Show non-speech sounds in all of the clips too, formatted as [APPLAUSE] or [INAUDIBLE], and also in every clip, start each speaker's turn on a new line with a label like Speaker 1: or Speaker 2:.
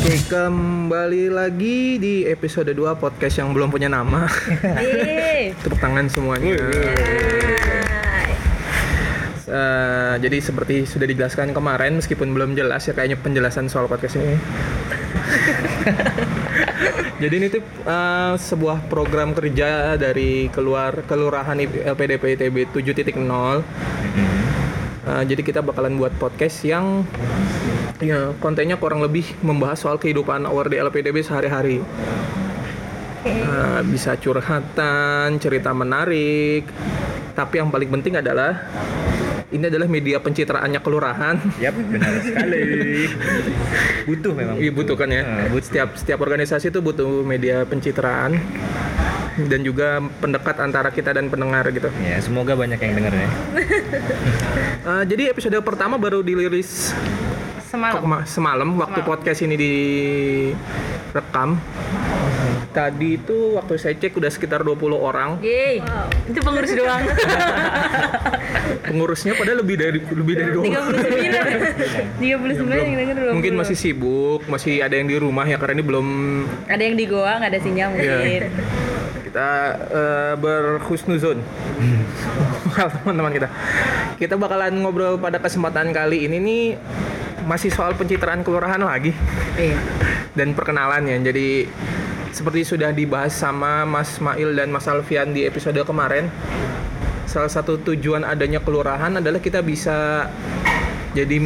Speaker 1: Oke, kembali lagi di episode 2 podcast yang belum punya nama. [LAUGHS]
Speaker 2: Yeay.
Speaker 1: Tepuk tangan semuanya. Eh, jadi seperti sudah dijelaskan kemarin, meskipun belum jelas ya kayaknya penjelasan soal podcast ini. [LAUGHS] jadi ini tuh eh, sebuah program kerja dari keluar kelurahan I- LPDP ITB 7.0. Eh, jadi kita bakalan buat podcast yang ya, kontennya kurang lebih membahas soal kehidupan awal di LPDB sehari-hari. Eh, bisa curhatan, cerita menarik. Tapi yang paling penting adalah ini adalah media pencitraannya kelurahan. [LAUGHS]
Speaker 3: Yap, benar sekali. Butuh memang.
Speaker 1: Iya butuh kan ya.
Speaker 3: Eh, butuh.
Speaker 1: Setiap setiap organisasi itu butuh media pencitraan dan juga pendekat antara kita dan pendengar gitu.
Speaker 3: Ya, semoga banyak yang denger ya.
Speaker 1: Eh, jadi episode pertama baru dirilis
Speaker 2: Semalam.
Speaker 1: kema- semalam waktu podcast ini direkam. Tadi itu waktu saya cek udah sekitar 20 orang.
Speaker 2: Yeay. Itu pengurus doang.
Speaker 1: Pengurusnya pada lebih dari lebih dari 20.
Speaker 2: 39. 39 yang denger dulu.
Speaker 1: Mungkin masih sibuk, masih ada yang di rumah ya karena ini belum
Speaker 2: ada yang di goa nggak ada sinyal mungkin.
Speaker 1: Iya. kita eh, berhusnuzon teman-teman kita. Kita bakalan ngobrol pada kesempatan kali ini nih masih soal pencitraan kelurahan lagi
Speaker 2: Iya.
Speaker 1: dan perkenalan ya. Jadi seperti sudah dibahas sama Mas Mail dan Mas Alfian di episode kemarin, salah satu tujuan adanya kelurahan adalah kita bisa jadi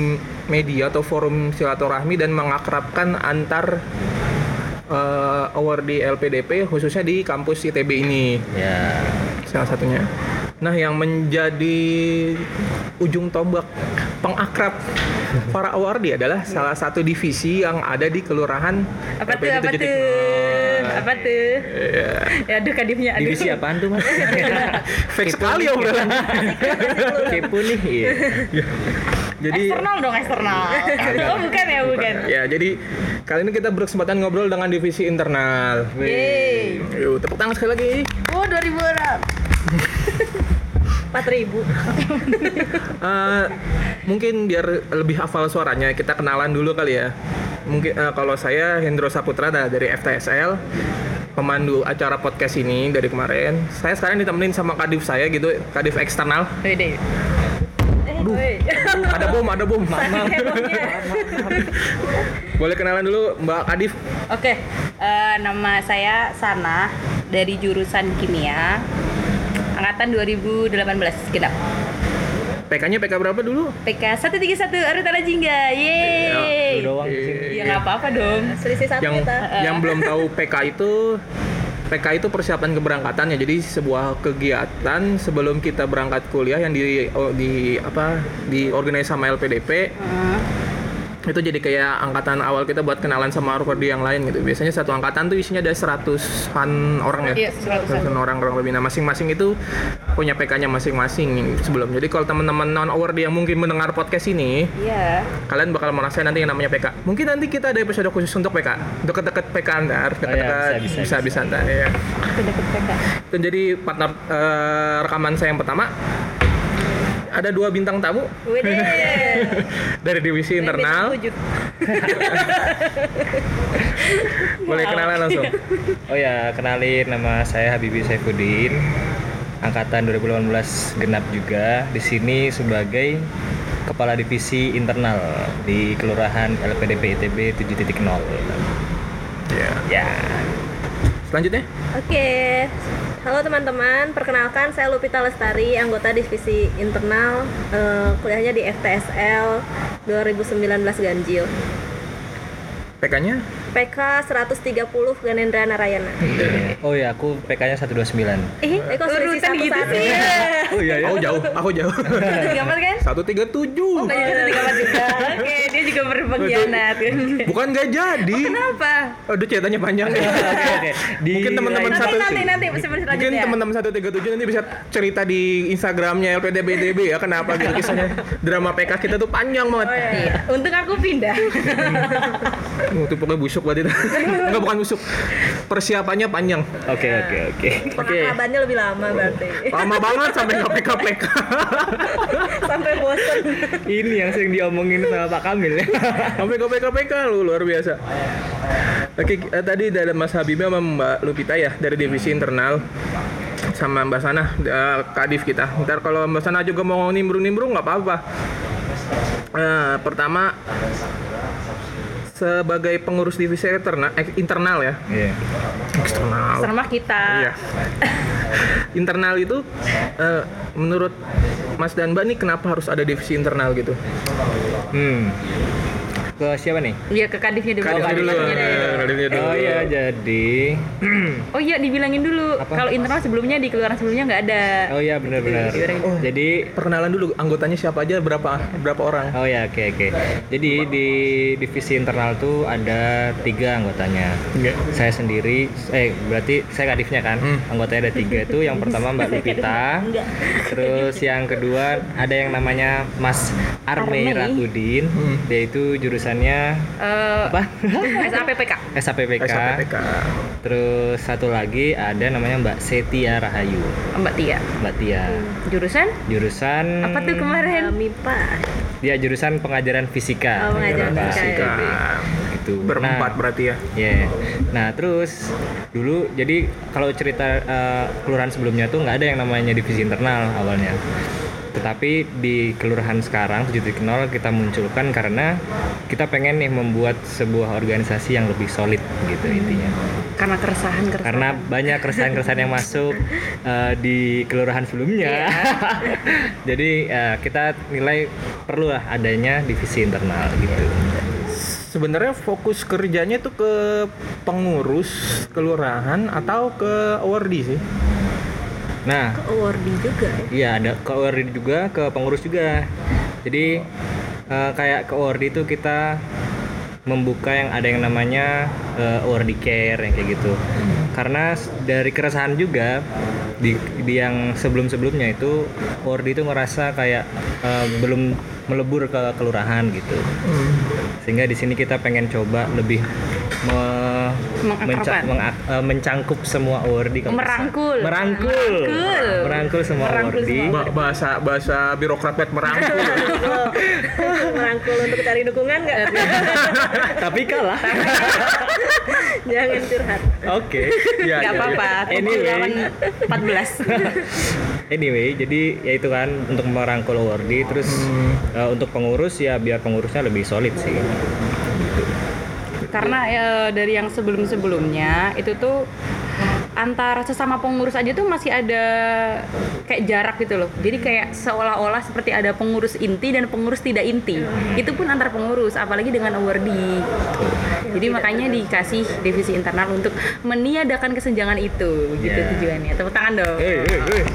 Speaker 1: media atau forum silaturahmi dan mengakrabkan antar eh, award di LPDP khususnya di kampus ITB ini
Speaker 3: Ya.
Speaker 1: salah satunya. Nah, yang menjadi ujung tombak pengakrab para awardi adalah salah satu divisi yang ada di kelurahan
Speaker 2: Apa tuh?
Speaker 1: LPD
Speaker 2: Apa
Speaker 1: 7.0.
Speaker 2: tuh? Apa tuh?
Speaker 1: Iya.
Speaker 2: Ya aduh kadifnya aduh.
Speaker 3: Divisi apaan tuh, Mas?
Speaker 1: Fake sekali ya
Speaker 2: [LAUGHS]
Speaker 1: obrolan.
Speaker 3: Kepo nih. Iya.
Speaker 1: Jadi
Speaker 2: Eksternal dong eksternal. oh bukan ya bukan.
Speaker 1: ya jadi kali ini kita berkesempatan ngobrol dengan divisi internal.
Speaker 2: Yeay.
Speaker 1: Yuk, tepuk tangan sekali lagi.
Speaker 2: Oh 2000 orang. 4000.
Speaker 1: Eh, mungkin biar lebih hafal suaranya kita kenalan dulu kali ya mungkin eh, kalau saya Hendro Saputra da- dari FTSL pemandu acara podcast ini dari kemarin saya sekarang ditemenin sama kadif saya gitu kadif eksternal
Speaker 2: Wede. Eh, woi. [LAUGHS]
Speaker 1: Aduh, ada bom ada bom Maaf, maaf.
Speaker 2: Hebohnya.
Speaker 1: boleh kenalan dulu Mbak Kadif
Speaker 2: Oke, eh, nama saya Sana dari jurusan kimia angkatan 2018 genap.
Speaker 1: PK-nya PK berapa dulu
Speaker 2: PK 131 Arut Jingga. Yeay.
Speaker 3: Lu doang sih.
Speaker 2: Ya nggak apa-apa dong.
Speaker 4: Iya, selisih satu
Speaker 1: Iya, yang
Speaker 4: kita
Speaker 1: [LAUGHS] yang belum tahu PK itu PK itu persiapan keberangkatan ya jadi sebuah kegiatan sebelum kita berangkat kuliah yang di o- di apa diorganisasi sama LPDP
Speaker 2: Heeh.
Speaker 1: itu jadi kayak angkatan awal kita buat kenalan sama Harvardi yang lain gitu biasanya satu angkatan tuh isinya ada seratusan orang ya
Speaker 2: Iya, seratusan.
Speaker 1: seratusan orang orang lebih nah masing-masing itu punya PK-nya masing-masing sebelum jadi kalau teman-teman non Harvardi yang mungkin mendengar podcast ini
Speaker 2: Iya.
Speaker 1: kalian bakal merasain nanti yang namanya PK. Mungkin nanti kita ada episode khusus untuk PK. Deket-deket PK Anda, harus
Speaker 3: Oh,
Speaker 1: deket-deket
Speaker 3: iya,
Speaker 1: bisa,
Speaker 3: bisa,
Speaker 1: bisa,
Speaker 3: bisa,
Speaker 1: Anda, ya.
Speaker 2: Aku dapet PK.
Speaker 1: Dan jadi partner eh, rekaman saya yang pertama ada dua bintang tamu
Speaker 2: Wede.
Speaker 1: dari divisi [LAUGHS] internal.
Speaker 2: Bintang tujuh.
Speaker 1: Boleh kenalan langsung.
Speaker 3: Oh ya, kenalin nama saya Habibie Saifuddin. Angkatan 2018 genap juga di sini sebagai kepala divisi internal di Kelurahan LPDP ITB 7.0.
Speaker 1: Ya.
Speaker 3: Ya.
Speaker 1: Selanjutnya
Speaker 4: oke halo teman-teman perkenalkan saya Lupita Lestari anggota divisi internal eh, kuliahnya di FTSL 2019 Ganjil
Speaker 1: PK-nya
Speaker 4: PK 130 Ganendra Narayana
Speaker 3: Oh ya, aku PK-nya 129.
Speaker 4: eh eh, kok selisih
Speaker 2: Urutan
Speaker 4: satu
Speaker 2: gitu
Speaker 4: satu
Speaker 2: sih.
Speaker 1: Oh iya Aku jauh, aku jauh. [LAUGHS]
Speaker 2: Gambar kan?
Speaker 1: 137.
Speaker 2: Oh, jadi satu tiga empat juga. Oke, dia juga berpengkhianat.
Speaker 1: Bukan gak jadi.
Speaker 2: Oh, Kenapa?
Speaker 1: Aduh ceritanya panjang.
Speaker 3: Oke,
Speaker 1: [LAUGHS]
Speaker 3: oke. Di-
Speaker 1: Mungkin teman-teman
Speaker 2: Nanti
Speaker 1: satu
Speaker 2: nanti nanti sebelum
Speaker 1: Mungkin
Speaker 2: selanjutnya.
Speaker 1: teman-teman 137 nanti bisa cerita di Instagramnya LPDBDB ya kenapa gitu kisahnya
Speaker 2: Oh,
Speaker 1: drama PK kita tuh panjang banget.
Speaker 2: Iya. Untung aku pindah.
Speaker 1: Oh, Itu pokoknya busuk. busuk berarti. Enggak bukan busuk. Persiapannya panjang.
Speaker 3: Oke oke oke.
Speaker 4: Pengakrabannya lebih lama
Speaker 2: [LAUGHS]
Speaker 4: berarti.
Speaker 1: Lama banget sampai nggak PK PK.
Speaker 4: Sampai bosen.
Speaker 3: Ini yang sering diomongin sama Pak Kamil ya.
Speaker 1: sampai ke PK PK lu luar biasa. Oke, eh, tadi dari Mas Habibie sama Mbak Lupita ya dari divisi internal sama Mbak Sanah eh, Kadif kita. Ntar kalau Mbak Sanah juga mau nimbrung-nimbrung nggak apa-apa. Eh, pertama sebagai pengurus divisi interna- eh, internal ya
Speaker 3: Iya.
Speaker 1: eksternal
Speaker 2: Seremah kita.
Speaker 1: Iya. internal itu eh, menurut Mas dan Mbak nih kenapa harus ada divisi internal gitu?
Speaker 3: Hmm. Ke siapa nih?
Speaker 2: Iya ke kadifnya dulu.
Speaker 1: Kadifnya dulu.
Speaker 2: Kadifnya dulu.
Speaker 1: eh, kadifnya dulu.
Speaker 3: Oh iya jadi
Speaker 2: Oh iya dibilangin dulu. Kalau internal sebelumnya di keluaran sebelumnya nggak ada.
Speaker 3: Oh iya benar-benar. Jadi
Speaker 1: Perkenalan dulu anggotanya siapa aja berapa berapa orang?
Speaker 3: Oh ya, oke oke. Jadi di divisi internal tuh ada tiga anggotanya. Saya sendiri, eh berarti saya kadifnya kan. Anggotanya ada tiga tuh. Yang pertama Mbak Lupita. Terus yang kedua ada yang namanya Mas
Speaker 2: Arme.
Speaker 3: Arme Rakudin. Dia itu jurusannya [LAUGHS]
Speaker 2: Eh,
Speaker 3: apa?
Speaker 2: SAPPK.
Speaker 1: Eh,
Speaker 3: SAPPK.
Speaker 1: SAPPK.
Speaker 3: Terus satu lagi ada namanya Mbak Setia Rahayu.
Speaker 2: Mbak Tia.
Speaker 3: Mbak Tia.
Speaker 4: Hmm.
Speaker 2: Jurusan?
Speaker 3: Jurusan
Speaker 2: Apa tuh kemarin?
Speaker 4: Mipa.
Speaker 3: dia jurusan pengajaran fisika.
Speaker 4: Oh, pengajaran
Speaker 3: Nah,
Speaker 2: ya,
Speaker 4: fisika. ya.
Speaker 3: Itu.
Speaker 1: Berempat
Speaker 3: Nah,
Speaker 1: berarti ya.
Speaker 3: Ya, nah terus dulu jadi kalau cerita eh, kelurahan sebelumnya tuh nggak ada yang namanya divisi internal awalnya. Tetapi di kelurahan sekarang 7.0 kita munculkan karena kita pengen nih membuat sebuah organisasi yang lebih solid gitu intinya.
Speaker 2: Karena keresahan keresahan.
Speaker 3: Karena banyak keresahan-keresahan yang masuk eh, di kelurahan sebelumnya. [LAUGHS] jadi eh, kita nilai perlulah adanya divisi internal gitu.
Speaker 1: Sebenarnya fokus kerjanya itu ke pengurus kelurahan atau ke awardee sih?
Speaker 3: Nah,
Speaker 4: Awardee juga. ya.
Speaker 3: Iya ada ke ORD juga ke pengurus juga. Jadi eh, kayak ke ORD itu kita membuka yang ada yang namanya eh, ORD care yang kayak gitu. Karena s- dari keresahan juga di, di yang sebelum-sebelumnya itu ORD itu ngerasa kayak eh, belum melebur ke kelurahan gitu. Sehingga di sini kita pengen coba lebih me-
Speaker 2: Mengakrabkan.
Speaker 3: mengak- eh, mencangkup semua ORD kalau bisa.
Speaker 2: Merangkul.
Speaker 3: Merangkul.
Speaker 2: Merangkul.
Speaker 3: Merangkul semua
Speaker 2: Merangkul
Speaker 3: ORD.
Speaker 1: Ba- bahasa bahasa birokrat banget [LAUGHS] merangkul.
Speaker 4: Merangkul untuk cari dukungan nggak?
Speaker 2: ya
Speaker 3: tapi kalah.
Speaker 4: [LAUGHS] Jangan curhat.
Speaker 3: Oke.
Speaker 1: Iya, iya,
Speaker 2: Gak apa-apa.
Speaker 3: Anyway.
Speaker 2: Lawan 14.
Speaker 3: Anyway, jadi ya itu kan untuk merangkul awardee terus eh, untuk pengurus ya biar pengurusnya lebih solid sih.
Speaker 2: Karena eh, dari yang sebelum-sebelumnya itu tuh antara sesama pengurus aja tuh masih ada kayak jarak gitu loh. Jadi kayak seolah-olah seperti ada pengurus inti dan pengurus tidak inti. Itu pun antar pengurus, apalagi dengan awardee. Jadi makanya dikasih divisi internal untuk meniadakan kesenjangan itu. Gitu
Speaker 3: Yeah.
Speaker 2: tujuannya. Tepuk tangan dong.
Speaker 3: Hey, hey, hey. Iya.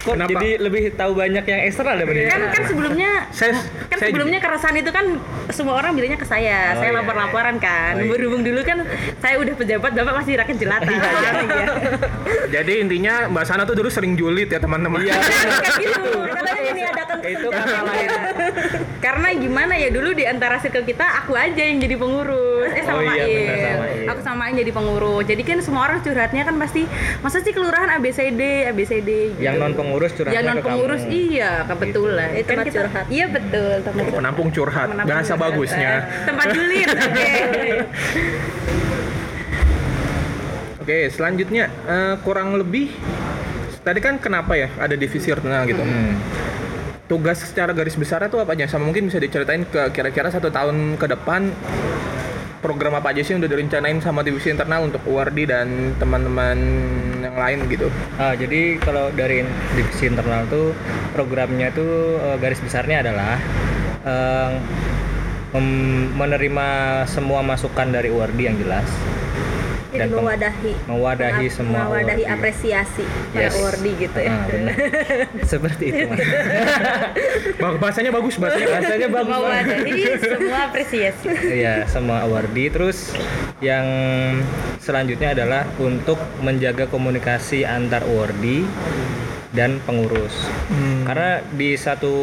Speaker 3: Kok
Speaker 1: Kenapa?
Speaker 3: jadi lebih tahu banyak yang eksternal daripada
Speaker 2: Kan
Speaker 3: internal?
Speaker 2: kan sebelumnya
Speaker 1: Saya
Speaker 2: kan
Speaker 1: saya
Speaker 2: sebelumnya keresahan itu kan semua orang bilangnya ke saya,
Speaker 3: Oh,
Speaker 2: saya
Speaker 3: iya.
Speaker 2: lapor-laporan kan.
Speaker 3: Oh, iya.
Speaker 2: Berhubung dulu kan saya udah pejabat, bapak masih rakyat jelata. [LAUGHS] Iya.
Speaker 1: jadi intinya Mbak Sana tuh dulu sering julid ya teman-teman. [LAUGHS]
Speaker 3: Iya.
Speaker 2: Kayak gitu.
Speaker 4: Katanya ini adakan
Speaker 3: itu kata lain.
Speaker 2: [LAUGHS] Karena gimana ya dulu di antara circle kita aku aja yang jadi pengurus. Eh sama
Speaker 3: Oh, iya,
Speaker 2: Mail.
Speaker 3: benar, sama Mail.
Speaker 2: Aku sama Mail jadi pengurus. Jadi kan semua orang curhatnya kan pasti masa sih kelurahan ABCD, ABCD gitu.
Speaker 3: Yang non pengurus curhatnya
Speaker 2: yang non
Speaker 3: ke kamu. Gitu.
Speaker 2: pengurus iya kebetulan. Kan
Speaker 4: Itu tempat
Speaker 2: kita-
Speaker 4: curhat.
Speaker 2: Iya betul, tempat curhat.
Speaker 1: Penampung curhat.
Speaker 2: Penampung
Speaker 1: bahasa
Speaker 2: curhat. eh.
Speaker 1: bagusnya.
Speaker 2: Tempat julid. Oke.
Speaker 1: Oke, selanjutnya eh, kurang lebih tadi kan kenapa ya ada divisi internal gitu.
Speaker 3: Hmm.
Speaker 1: Tugas secara garis besarnya tuh apa aja? Sama mungkin bisa diceritain ke kira-kira satu tahun ke depan program apa aja sih yang udah direncanain sama divisi internal untuk Wardi dan teman-teman yang lain gitu.
Speaker 3: Ah, jadi kalau dari in- divisi internal tuh programnya tuh eh, garis besarnya adalah eh, mem- menerima semua masukan dari URD yang jelas
Speaker 4: Jadi
Speaker 3: peng-
Speaker 4: mewadahi.
Speaker 3: mewadahi
Speaker 4: Mengap-
Speaker 3: semua
Speaker 4: Mewadahi
Speaker 3: awardee.
Speaker 4: apresiasi para
Speaker 3: Yes.
Speaker 4: awardee gitu ya.
Speaker 3: Ah,
Speaker 4: [LAUGHS]
Speaker 3: benar. Seperti itu. Mas.
Speaker 1: Bah- Bahasanya bagus bahasanya.
Speaker 3: Rasanya bagus.
Speaker 2: Mau
Speaker 3: banget.
Speaker 2: ada. Jadi semua apresiasi.
Speaker 3: Iya, sama awardee terus yang selanjutnya adalah untuk menjaga komunikasi antar awardee dan pengurus. Karena di satu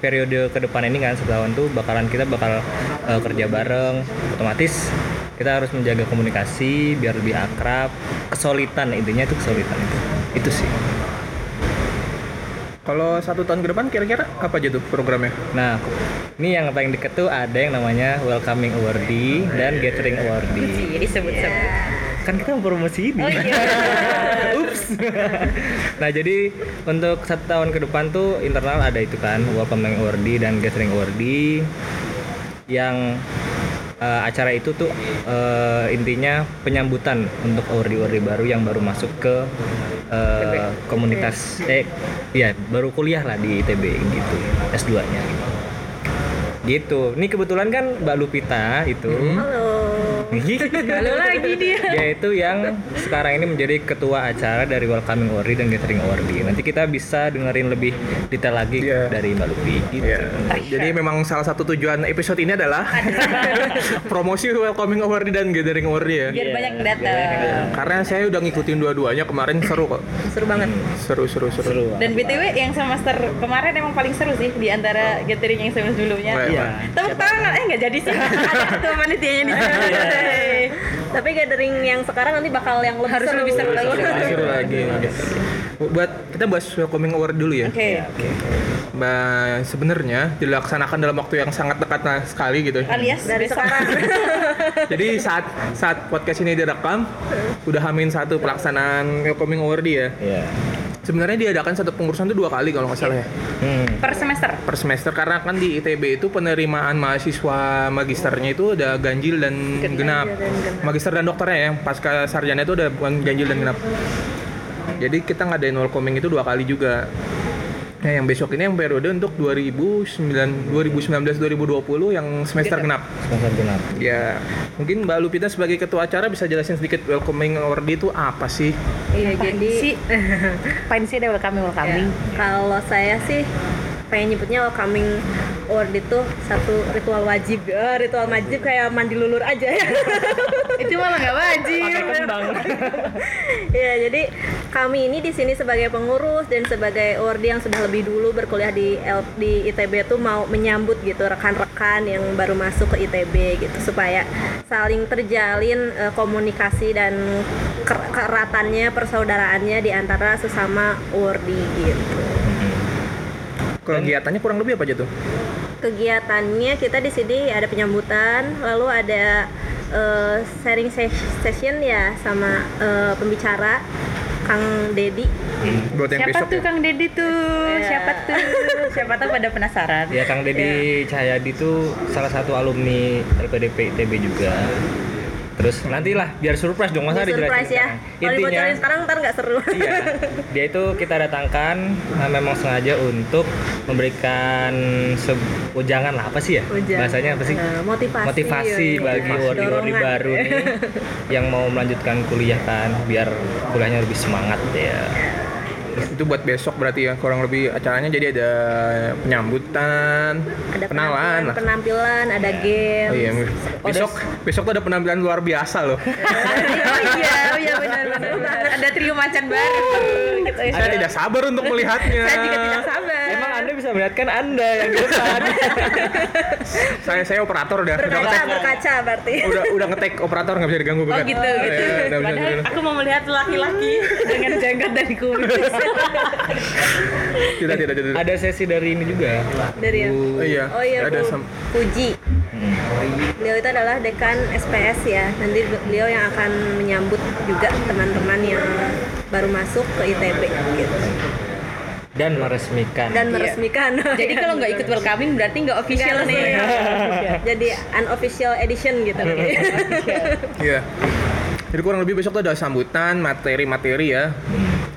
Speaker 3: periode ke depan ini kan setahun tuh bakalan kita bakal eh, kerja bareng otomatis kita harus menjaga komunikasi biar lebih akrab kesulitan intinya itu kesulitan itu itu sih
Speaker 1: Kalau satu tahun ke depan kira-kira apa aja tuh programnya?
Speaker 3: nah ini yang paling deket tuh ada yang namanya welcoming awardee dan gathering awardee
Speaker 2: Jadi sebut-sebut.
Speaker 3: kan kita mau promosi ini
Speaker 2: Oh iya.
Speaker 3: [LAUGHS] nah jadi untuk satu tahun ke depan tuh internal ada itu kan welcoming awardee dan gathering awardee yang eh, acara itu tuh eh, intinya penyambutan untuk awardee-awardee baru yang baru masuk ke eh, komunitas eh ya baru kuliah lah di ITB gitu S2 nya gitu ini kebetulan kan Mbak Lupita itu [LAUGHS]
Speaker 4: Halo.
Speaker 2: Halo lagi dia.
Speaker 3: yaitu yang sekarang ini menjadi ketua acara dari Welcoming Ori dan Gathering Ori. Nanti kita bisa dengerin lebih detail lagi
Speaker 1: Iya.
Speaker 3: dari Mbak Lupi. Gitu.
Speaker 1: Iya. Jadi memang salah satu tujuan episode ini adalah [LAUGHS] promosi welcoming award dan gathering award ya.
Speaker 2: Biar banyak yang datang.
Speaker 1: Karena saya udah ngikutin dua-duanya kemarin seru kok.
Speaker 2: Seru banget.
Speaker 1: Seru seru seru.
Speaker 3: Seru.
Speaker 2: Dan BTW yang semester kemarin emang paling seru sih di antara gathering yang sebelum-sebelumnya.
Speaker 1: Wah,
Speaker 3: Iya.
Speaker 2: Tepuk tangan, eh nggak jadi sih. Ada ketua panitianya di sana. Hey.
Speaker 4: Tapi gathering yang sekarang nanti bakal yang lebih
Speaker 2: Harus
Speaker 4: seru.
Speaker 2: lebih seru lagi.
Speaker 1: Wah, Seru lagi. Buat kita bahas welcoming award dulu ya.
Speaker 2: Oke.
Speaker 1: Mbak sebenarnya dilaksanakan dalam waktu yang sangat dekat nah, sekali gitu.
Speaker 2: Alias
Speaker 4: Dari
Speaker 2: besok.
Speaker 4: sekarang.
Speaker 1: Jadi saat saat podcast ini direkam udah hamin satu pelaksanaan welcoming award ya.
Speaker 3: Iya.
Speaker 1: Sebenarnya diadakan satu pengurusan itu dua kali kalau nggak salah ya.
Speaker 3: Hmm.
Speaker 2: [LAUGHS] per semester.
Speaker 1: per semester karena kan di ITB itu penerimaan mahasiswa magisternya itu ada ganjil iya, dan genap. Magister dan dokternya ya, pasca sarjana itu ada bukan ganjil dan genap. Jadi kita ngadain welcoming itu dua kali juga. Nah, yang besok ini yang periode untuk 2009 2019 2020 yang semester genap.
Speaker 3: Sponsor genap.
Speaker 1: Ya, mungkin Mbak Lupita sebagai ketua acara bisa jelasin sedikit welcoming award itu apa sih?
Speaker 4: Iya, jadi ya,
Speaker 2: sih Pain sih ada welcoming welcoming.
Speaker 4: kalau saya sih pengen nyebutnya welcoming award itu satu ritual wajib. Eh, ritual wajib kayak mandi lulur aja [LAUGHS] ya.
Speaker 2: [LAUGHS] Itu malah nggak wajib.
Speaker 4: Ya, jadi kami ini di sini sebagai pengurus dan sebagai awardee yang sudah lebih dulu berkuliah di L- di ITB itu mau menyambut gitu rekan-rekan yang baru masuk ke ITB gitu supaya saling terjalin eh, komunikasi dan ker- keeratannya persaudaraannya di antara sesama awardee gitu.
Speaker 1: Kegiatannya kurang lebih apa aja tuh?
Speaker 4: Kegiatannya kita di sini ada penyambutan, lalu ada eh, sharing ses- session ya sama eh, pembicara Kang Dedi
Speaker 1: Buat yang
Speaker 2: Siapa
Speaker 1: besok.
Speaker 2: tuh
Speaker 1: ya?
Speaker 2: Kang Deddy tuh?
Speaker 4: Iya.
Speaker 2: Siapa tuh? Siapa tuh pada [LAUGHS] penasaran?
Speaker 3: Ya Kang Deddy
Speaker 4: Iya.
Speaker 3: Cahyadi itu salah satu alumni LPDP ITB juga. Terus nantilah biar surprise dong masa
Speaker 4: Ini
Speaker 3: dijelasin
Speaker 4: surprise ya.
Speaker 3: sekarang.
Speaker 4: Kalau
Speaker 3: Intinya
Speaker 4: dibocorin sekarang ntar nggak seru. [LAUGHS]
Speaker 3: Iya, dia itu kita datangkan nah, memang sengaja untuk memberikan se- ujangan lah apa sih ya?
Speaker 4: Ujangan.
Speaker 3: Bahasanya apa sih?
Speaker 4: Eh, motivasi.
Speaker 3: Motivasi
Speaker 4: Iya,
Speaker 3: bagi
Speaker 4: iya.
Speaker 3: wardi-wardi
Speaker 4: Dorongan.
Speaker 3: baru nih yang mau melanjutkan kuliah kan biar kuliahnya lebih semangat ya.
Speaker 1: itu buat besok berarti ya kurang lebih acaranya jadi ada penyambutan
Speaker 4: [LAUGHS] Ada
Speaker 1: kenalan lah.
Speaker 4: penampilan, ada
Speaker 1: Oh
Speaker 4: game.
Speaker 1: iya, besok besok tuh ada penampilan luar biasa
Speaker 2: [LAUGHS]
Speaker 1: loh.
Speaker 2: Oh iya, oh iya benar benar. benar. Ada trio macan baru. Gitu ya.
Speaker 1: Saya tidak sabar untuk melihatnya.
Speaker 2: Saya juga tidak sabar.
Speaker 4: Eh.
Speaker 3: Emang Anda bisa melihatkan Anda yang kan?
Speaker 1: [LAUGHS]
Speaker 3: di depan.
Speaker 1: saya saya operator udah udah
Speaker 4: Berkaca,
Speaker 1: ngetek
Speaker 4: berkaca berarti.
Speaker 3: Oh,
Speaker 1: udah udah ngetek operator nggak bisa diganggu
Speaker 2: Oh
Speaker 1: bukan?
Speaker 2: gitu
Speaker 1: Iya, iya,
Speaker 2: gitu.
Speaker 1: nggak bisa
Speaker 2: Padahal
Speaker 1: diganggu.
Speaker 2: aku mau melihat [LAUGHS] laki-laki dengan jenggot dan kumis.
Speaker 1: Tidak tidak tidak.
Speaker 3: Ada sesi dari ini juga.
Speaker 4: Dari yang
Speaker 3: Bu-
Speaker 1: Oh iya.
Speaker 4: Oh iya,
Speaker 1: ada
Speaker 4: Bu.
Speaker 1: sam-
Speaker 4: Puji.
Speaker 3: Hmm.
Speaker 4: Beliau itu adalah dekan SPS ya. Nanti beliau yang akan menyambut juga teman-teman yang baru masuk ke ITB gitu.
Speaker 3: Dan meresmikan.
Speaker 4: dan meresmikan.
Speaker 2: Iya.
Speaker 4: [LAUGHS]
Speaker 2: Jadi kalau nggak ikut welcoming berarti nggak official
Speaker 4: Nggak
Speaker 2: nih.
Speaker 4: [LAUGHS] jadi unofficial edition gitu.
Speaker 1: Hmm, Iya. Jadi kurang lebih besok tuh ada sambutan, materi-materi ya.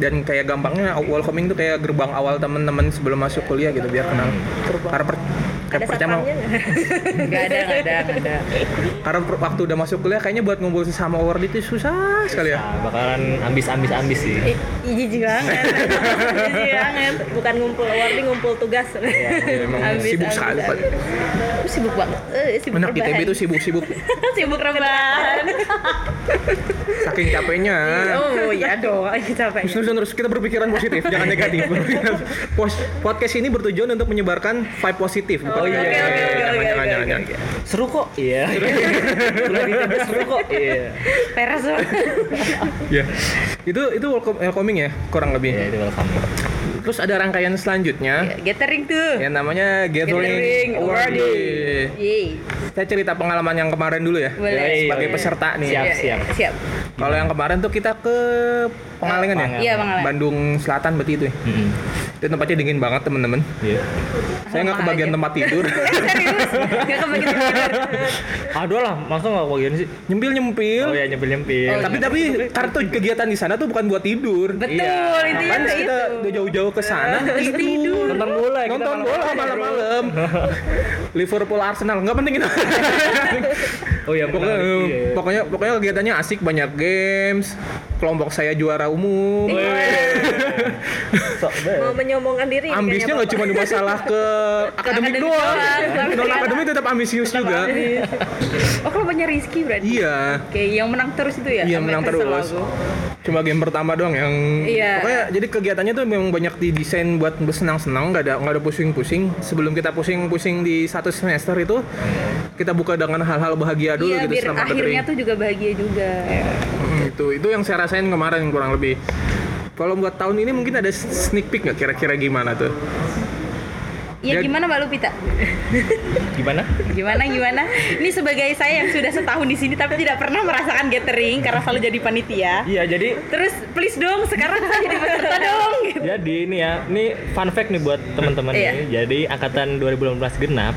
Speaker 1: Dan kayak gampangnya welcoming tuh kayak gerbang awal temen-temen sebelum masuk kuliah gitu biar kenal. Karena per, kayak
Speaker 4: [LAUGHS] ada
Speaker 1: percaya mau-
Speaker 4: satpamnya
Speaker 2: [LAUGHS]
Speaker 4: nggak?
Speaker 2: Nggak ada, nggak ada, nggak ada.
Speaker 1: Karena per- waktu udah masuk kuliah kayaknya buat ngumpul sesama award itu susah sekali ya.
Speaker 3: Nah, bakalan ambis-ambis-ambis sih.
Speaker 4: Ih, Jijik [LAUGHS] banget. Jijik banget. Bukan ngumpul award, ini ngumpul tugas.
Speaker 1: Iya, emang
Speaker 2: Ambis,
Speaker 1: sibuk
Speaker 2: ambis,
Speaker 1: sekali Pak.
Speaker 2: Aku sibuk banget.
Speaker 4: Eh, sibuk
Speaker 2: [LAUGHS]
Speaker 1: Anak ITB
Speaker 4: rebahan.
Speaker 1: itu sibuk-sibuk.
Speaker 2: sibuk rebahan.
Speaker 1: Saking capeknya.
Speaker 3: Ah. Iya,
Speaker 2: Oh ya dong, capek.
Speaker 1: Terus, terus kita berpikiran positif, jangan
Speaker 3: [LAUGHS]
Speaker 1: negatif. Pos- Podcast ini bertujuan untuk menyebarkan vibe positif. bukan
Speaker 3: Oh, iya,
Speaker 1: negatif.
Speaker 3: oke, oke,
Speaker 1: Jangan,
Speaker 4: oke,
Speaker 1: jangan,
Speaker 4: oke,
Speaker 1: jangan, jangan.
Speaker 3: Seru kok. Iya. [LAUGHS] Keluar di TV seru kok. Iya.
Speaker 2: Peres.
Speaker 1: Ya. Itu itu welcome- welcoming ya, kurang lebih.
Speaker 3: Iya, itu welcome.
Speaker 1: Terus ada rangkaian selanjutnya
Speaker 2: Gathering tuh.
Speaker 3: iya. Ya.
Speaker 1: yang namanya
Speaker 2: Gathering
Speaker 1: Gathering Award.
Speaker 2: Award. Yeay.
Speaker 1: Saya cerita pengalaman yang kemarin dulu ya.
Speaker 2: Boleh.
Speaker 1: Sebagai
Speaker 2: Iya.
Speaker 1: peserta nih.
Speaker 3: Siap,
Speaker 2: Iya,
Speaker 3: siap.
Speaker 2: Siap.
Speaker 1: Kalau yang kemarin tuh kita ke Pengalengan ya?
Speaker 2: Iya, Pengalengan.
Speaker 1: Bandung Selatan berarti itu ya.
Speaker 3: Mm-mm.
Speaker 1: Itu tempatnya dingin banget temen-temen.
Speaker 3: Iya.
Speaker 1: Saya nggak
Speaker 2: Rumah
Speaker 1: kebagian
Speaker 2: aja.
Speaker 1: tempat
Speaker 2: [LAUGHS]
Speaker 1: tidur.
Speaker 2: Serius, gak kebagian tidur.
Speaker 3: [LAUGHS] Aduh lah, masa nggak kebagian sih?
Speaker 1: nyempil nyempil.
Speaker 3: Oh ya nyempil-nyempil.
Speaker 2: Oh,
Speaker 4: iya.
Speaker 1: Tapi tapi kartu kegiatan di sana tuh bukan buat tidur.
Speaker 2: Betul,
Speaker 3: Iya.
Speaker 2: itu ya,
Speaker 1: Kan
Speaker 2: itu.
Speaker 1: kita udah jauh-jauh ke sana tidur.
Speaker 2: tidur.
Speaker 3: Nonton bola kita
Speaker 1: Nonton bola
Speaker 3: malam-malam.
Speaker 2: [LAUGHS]
Speaker 1: malam-malam. Liverpool Arsenal nggak penting itu.
Speaker 3: Oh ya,
Speaker 1: pokoknya, eh,
Speaker 3: menarik, [LAUGHS] iya.
Speaker 1: pokoknya pokoknya kegiatannya asik banyak games. Kelompok saya juara umum.
Speaker 2: Iya.
Speaker 1: [LAUGHS]
Speaker 3: Sok banget.
Speaker 4: Eh, mau menyombongkan diri ini
Speaker 1: ambisnya
Speaker 4: kayaknya,
Speaker 1: nggak
Speaker 4: Bapak.
Speaker 1: cuma di masalah
Speaker 2: [LAUGHS]
Speaker 1: ke akademik
Speaker 2: Akademik
Speaker 1: doang
Speaker 2: doang.
Speaker 1: non akademik tetap ambisius juga
Speaker 2: Oh, kalau punya Rizky berarti.
Speaker 1: iya
Speaker 2: Oke, yang menang terus itu ya?
Speaker 1: iya
Speaker 2: Sampai
Speaker 1: menang
Speaker 2: kesel
Speaker 1: terus
Speaker 2: aku.
Speaker 1: cuma game pertama doang yang
Speaker 2: Iya.
Speaker 1: pokoknya jadi kegiatannya tuh memang banyak didesain buat bersenang-senang nggak ada nggak ada pusing-pusing sebelum kita pusing-pusing di satu semester itu kita buka dengan hal-hal bahagia dulu
Speaker 2: Iya,
Speaker 1: gitu
Speaker 2: biar
Speaker 1: selama
Speaker 2: akhirnya
Speaker 1: gathering.
Speaker 2: tuh juga bahagia juga.
Speaker 3: Iya.
Speaker 1: Mm, itu itu yang saya rasain kemarin kurang lebih kalau buat tahun ini mungkin ada sneak peek nggak kira-kira gimana tuh
Speaker 2: Ya
Speaker 1: Ya-
Speaker 2: gimana Mbak Lupita?
Speaker 3: Gimana?
Speaker 2: Gimana gimana? Ini sebagai saya yang sudah setahun di sini tapi tidak pernah merasakan gathering karena selalu jadi panitia.
Speaker 3: Iya, jadi
Speaker 2: Terus please dong sekarang saya jadi peserta dong. gitu.
Speaker 3: Jadi ini ya, ini fun fact nih buat teman-teman
Speaker 2: Iya.
Speaker 3: nih. Jadi angkatan 2018 genap,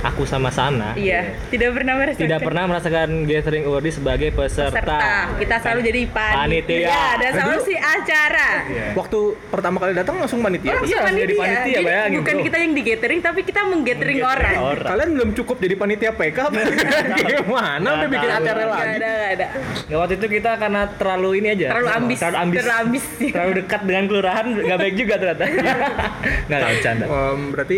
Speaker 3: aku sama Sana
Speaker 2: Iya, tidak pernah merasakan.
Speaker 3: tidak pernah merasakan gathering award sebagai peserta.
Speaker 2: peserta. Kita selalu jadi Iya, panitia,
Speaker 3: Panitia.
Speaker 2: dan selalu si acara.
Speaker 3: Iya.
Speaker 1: waktu pertama kali datang langsung panitia
Speaker 2: Orang
Speaker 3: Iya, langsung jadi panitia,
Speaker 2: Jadi
Speaker 3: bayangin,
Speaker 2: bukan
Speaker 3: bro.
Speaker 2: kita yang di gathering tapi kita menggathering orang.
Speaker 3: Orang.
Speaker 1: Kalian belum cukup jadi panitia PK
Speaker 3: [LAUGHS]
Speaker 1: apa? Gimana udah bikin
Speaker 3: Nggak
Speaker 1: acara
Speaker 3: tahu.
Speaker 2: Gak
Speaker 1: lagi?
Speaker 2: Iya, ada, gak ada.
Speaker 3: Nggak, waktu itu kita karena terlalu ini aja.
Speaker 2: Terlalu ambis.
Speaker 3: Iya, Terlalu ambis.
Speaker 2: Terlalu ambis.
Speaker 3: [LAUGHS]
Speaker 2: Iya.
Speaker 3: Terlalu dekat dengan kelurahan nggak baik juga ternyata. [LAUGHS] Nggak nggak bercanda.
Speaker 1: Em, berarti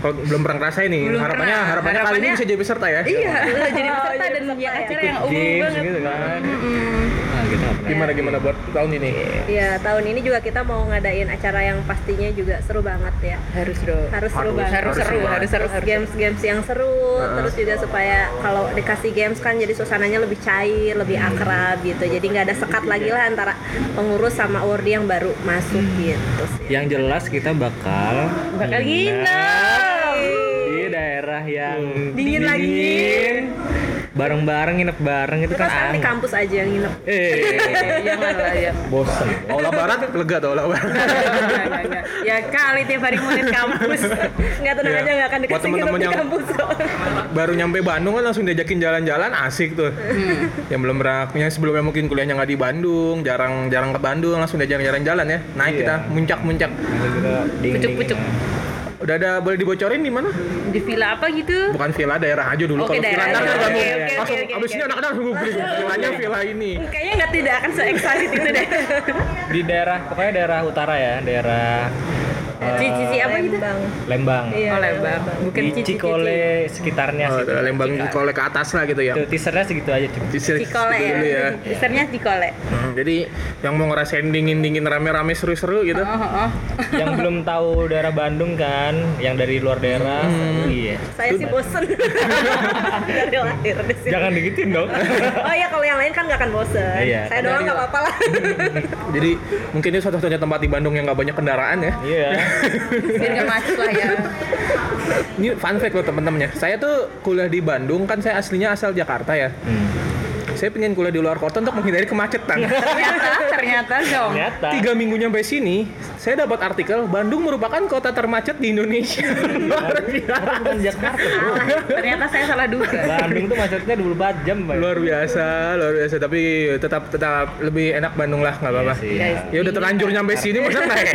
Speaker 1: kalau belum pernah ngerasain nih.
Speaker 2: Belum
Speaker 1: harapannya
Speaker 2: pernah.
Speaker 1: harapannya kali ini
Speaker 2: Harapannya-
Speaker 1: bisa jadi peserta ya.
Speaker 2: Iya, [LAUGHS] udah jadi
Speaker 4: [LAUGHS] Oh,
Speaker 2: peserta
Speaker 4: jadi
Speaker 2: dan
Speaker 4: peserta
Speaker 2: ya,
Speaker 4: ya.
Speaker 2: acara yang umum
Speaker 3: Iya, Games
Speaker 2: banget.
Speaker 3: gitu kan.
Speaker 2: Mm-mm.
Speaker 3: Nah, kita nggak pernah.
Speaker 1: Gimana gimana buat tahun ini?
Speaker 3: Iya.
Speaker 4: ya tahun ini juga kita mau ngadain acara yang pastinya juga seru banget ya
Speaker 2: Harus dong.
Speaker 3: Iya.
Speaker 4: harus seru
Speaker 1: Harus,
Speaker 4: banget
Speaker 2: Harus seru, harus seru,
Speaker 4: Terus
Speaker 2: harus seru.
Speaker 4: games-games yang seru terus juga supaya kalau dikasih games kan jadi suasananya lebih cair lebih akrab gitu jadi nggak ada sekat lagi lah antara pengurus sama awardee yang baru masuk gitu sih
Speaker 3: Yang jelas kita bakal
Speaker 2: Bakal
Speaker 3: di daerah yang
Speaker 2: Dingin lagi.
Speaker 3: dingin. Bareng-bareng nginep bareng itu
Speaker 4: kita
Speaker 3: kan
Speaker 4: sekarang di
Speaker 3: aneh.
Speaker 4: kampus aja yang nginep
Speaker 3: Eh,
Speaker 2: Janganlah ya.
Speaker 3: bosen.
Speaker 1: Aula Barat lega tuh Aula Barat.
Speaker 2: ya kali tiap hari ngeliat kampus
Speaker 4: nggak tenang
Speaker 1: Iya.
Speaker 4: aja nggak akan
Speaker 1: Buat
Speaker 4: dikasih nginep
Speaker 1: teman-teman
Speaker 4: di
Speaker 1: yang-
Speaker 4: kampus
Speaker 1: Baru nyampe Bandung kan langsung diajakin jalan-jalan asik tuh.
Speaker 4: Hmm.
Speaker 1: Yang belum pernah yang sebelumnya mungkin kuliahnya nggak di Bandung, jarang-jarang ke Bandung langsung diajakin jalan-jalan ya. Naik
Speaker 3: Iya.
Speaker 1: kita muncak-muncak.
Speaker 3: Langsung kita dingin.
Speaker 2: Pucuk-pucuk.
Speaker 1: Udah ada boleh dibocorin di mana?
Speaker 2: di villa apa gitu
Speaker 1: Bukan villa daerah aja dulu
Speaker 2: Oke,
Speaker 1: kalau villa
Speaker 2: daerah
Speaker 1: ntar
Speaker 2: aja.
Speaker 1: kan
Speaker 2: Oke,
Speaker 1: langsung-
Speaker 2: oke, oke,
Speaker 1: langsung
Speaker 2: oke,
Speaker 1: abis ini
Speaker 2: oke. Iya.
Speaker 1: anak-anak langsung
Speaker 2: [LAUGHS]
Speaker 1: googling villanya villa ini.
Speaker 2: kayaknya nggak tidak akan se excited itu deh
Speaker 3: Di daerah pokoknya daerah utara ya, daerah eh,
Speaker 2: cici cici apa gitu
Speaker 4: Lembang.
Speaker 3: Lembang.
Speaker 4: Iya.
Speaker 2: oh Lembang bukan
Speaker 3: Di
Speaker 2: cici cici
Speaker 3: Cikole
Speaker 2: Iya,
Speaker 3: sekitarnya
Speaker 1: Oh,
Speaker 3: sih.
Speaker 1: ada Lembang Cikole ke atas lah gitu ya.
Speaker 3: Tuh, teasernya segitu aja cukup.
Speaker 1: Disel-
Speaker 2: cikole
Speaker 1: dulu
Speaker 2: ya isternya cikole
Speaker 1: Hmm, jadi yang mau ngerasain dingin-dingin rame-rame seru-seru gitu.
Speaker 2: oh, oh, oh.
Speaker 3: yang belum tahu daerah Bandung kan, yang dari luar daerah. Iya.
Speaker 4: Hmm. saya sih bosen dari lahir di sini
Speaker 3: Jangan digituin
Speaker 4: [LAUGHS]
Speaker 3: dong.
Speaker 4: oh iya kalau yang lain kan nggak akan bosen
Speaker 3: Iya.
Speaker 4: saya doang nggak apa-apa lah
Speaker 1: Jadi mungkin ini satu-satunya tempat di Bandung yang nggak banyak kendaraan ya.
Speaker 3: Iya.
Speaker 2: biar nggak macet lah ya
Speaker 1: Ini fun fact loh temen-temennya. Saya tuh kuliah di Bandung kan saya aslinya asal Jakarta ya.
Speaker 3: Hmm.
Speaker 1: Saya pengen kuliah di luar kota untuk menghindari kemacetan.
Speaker 2: ternyata ternyata dong
Speaker 3: Ternyata
Speaker 1: Tiga minggu nyampe sini, saya dapat artikel Bandung merupakan kota termacet di Indonesia.
Speaker 2: [LAUGHS]
Speaker 1: luar biasa.
Speaker 3: bukan Jakarta. Bro.
Speaker 2: ternyata saya salah duga
Speaker 3: Bandung tuh macetnya 24 jam, Bay.
Speaker 1: Luar biasa, luar biasa. Tapi tetap tetap lebih enak Bandung lah, nggak apa-apa.
Speaker 3: Iya sih.
Speaker 2: Guys.
Speaker 1: Ya udah terlanjur nyampe sini, masa ya? naik?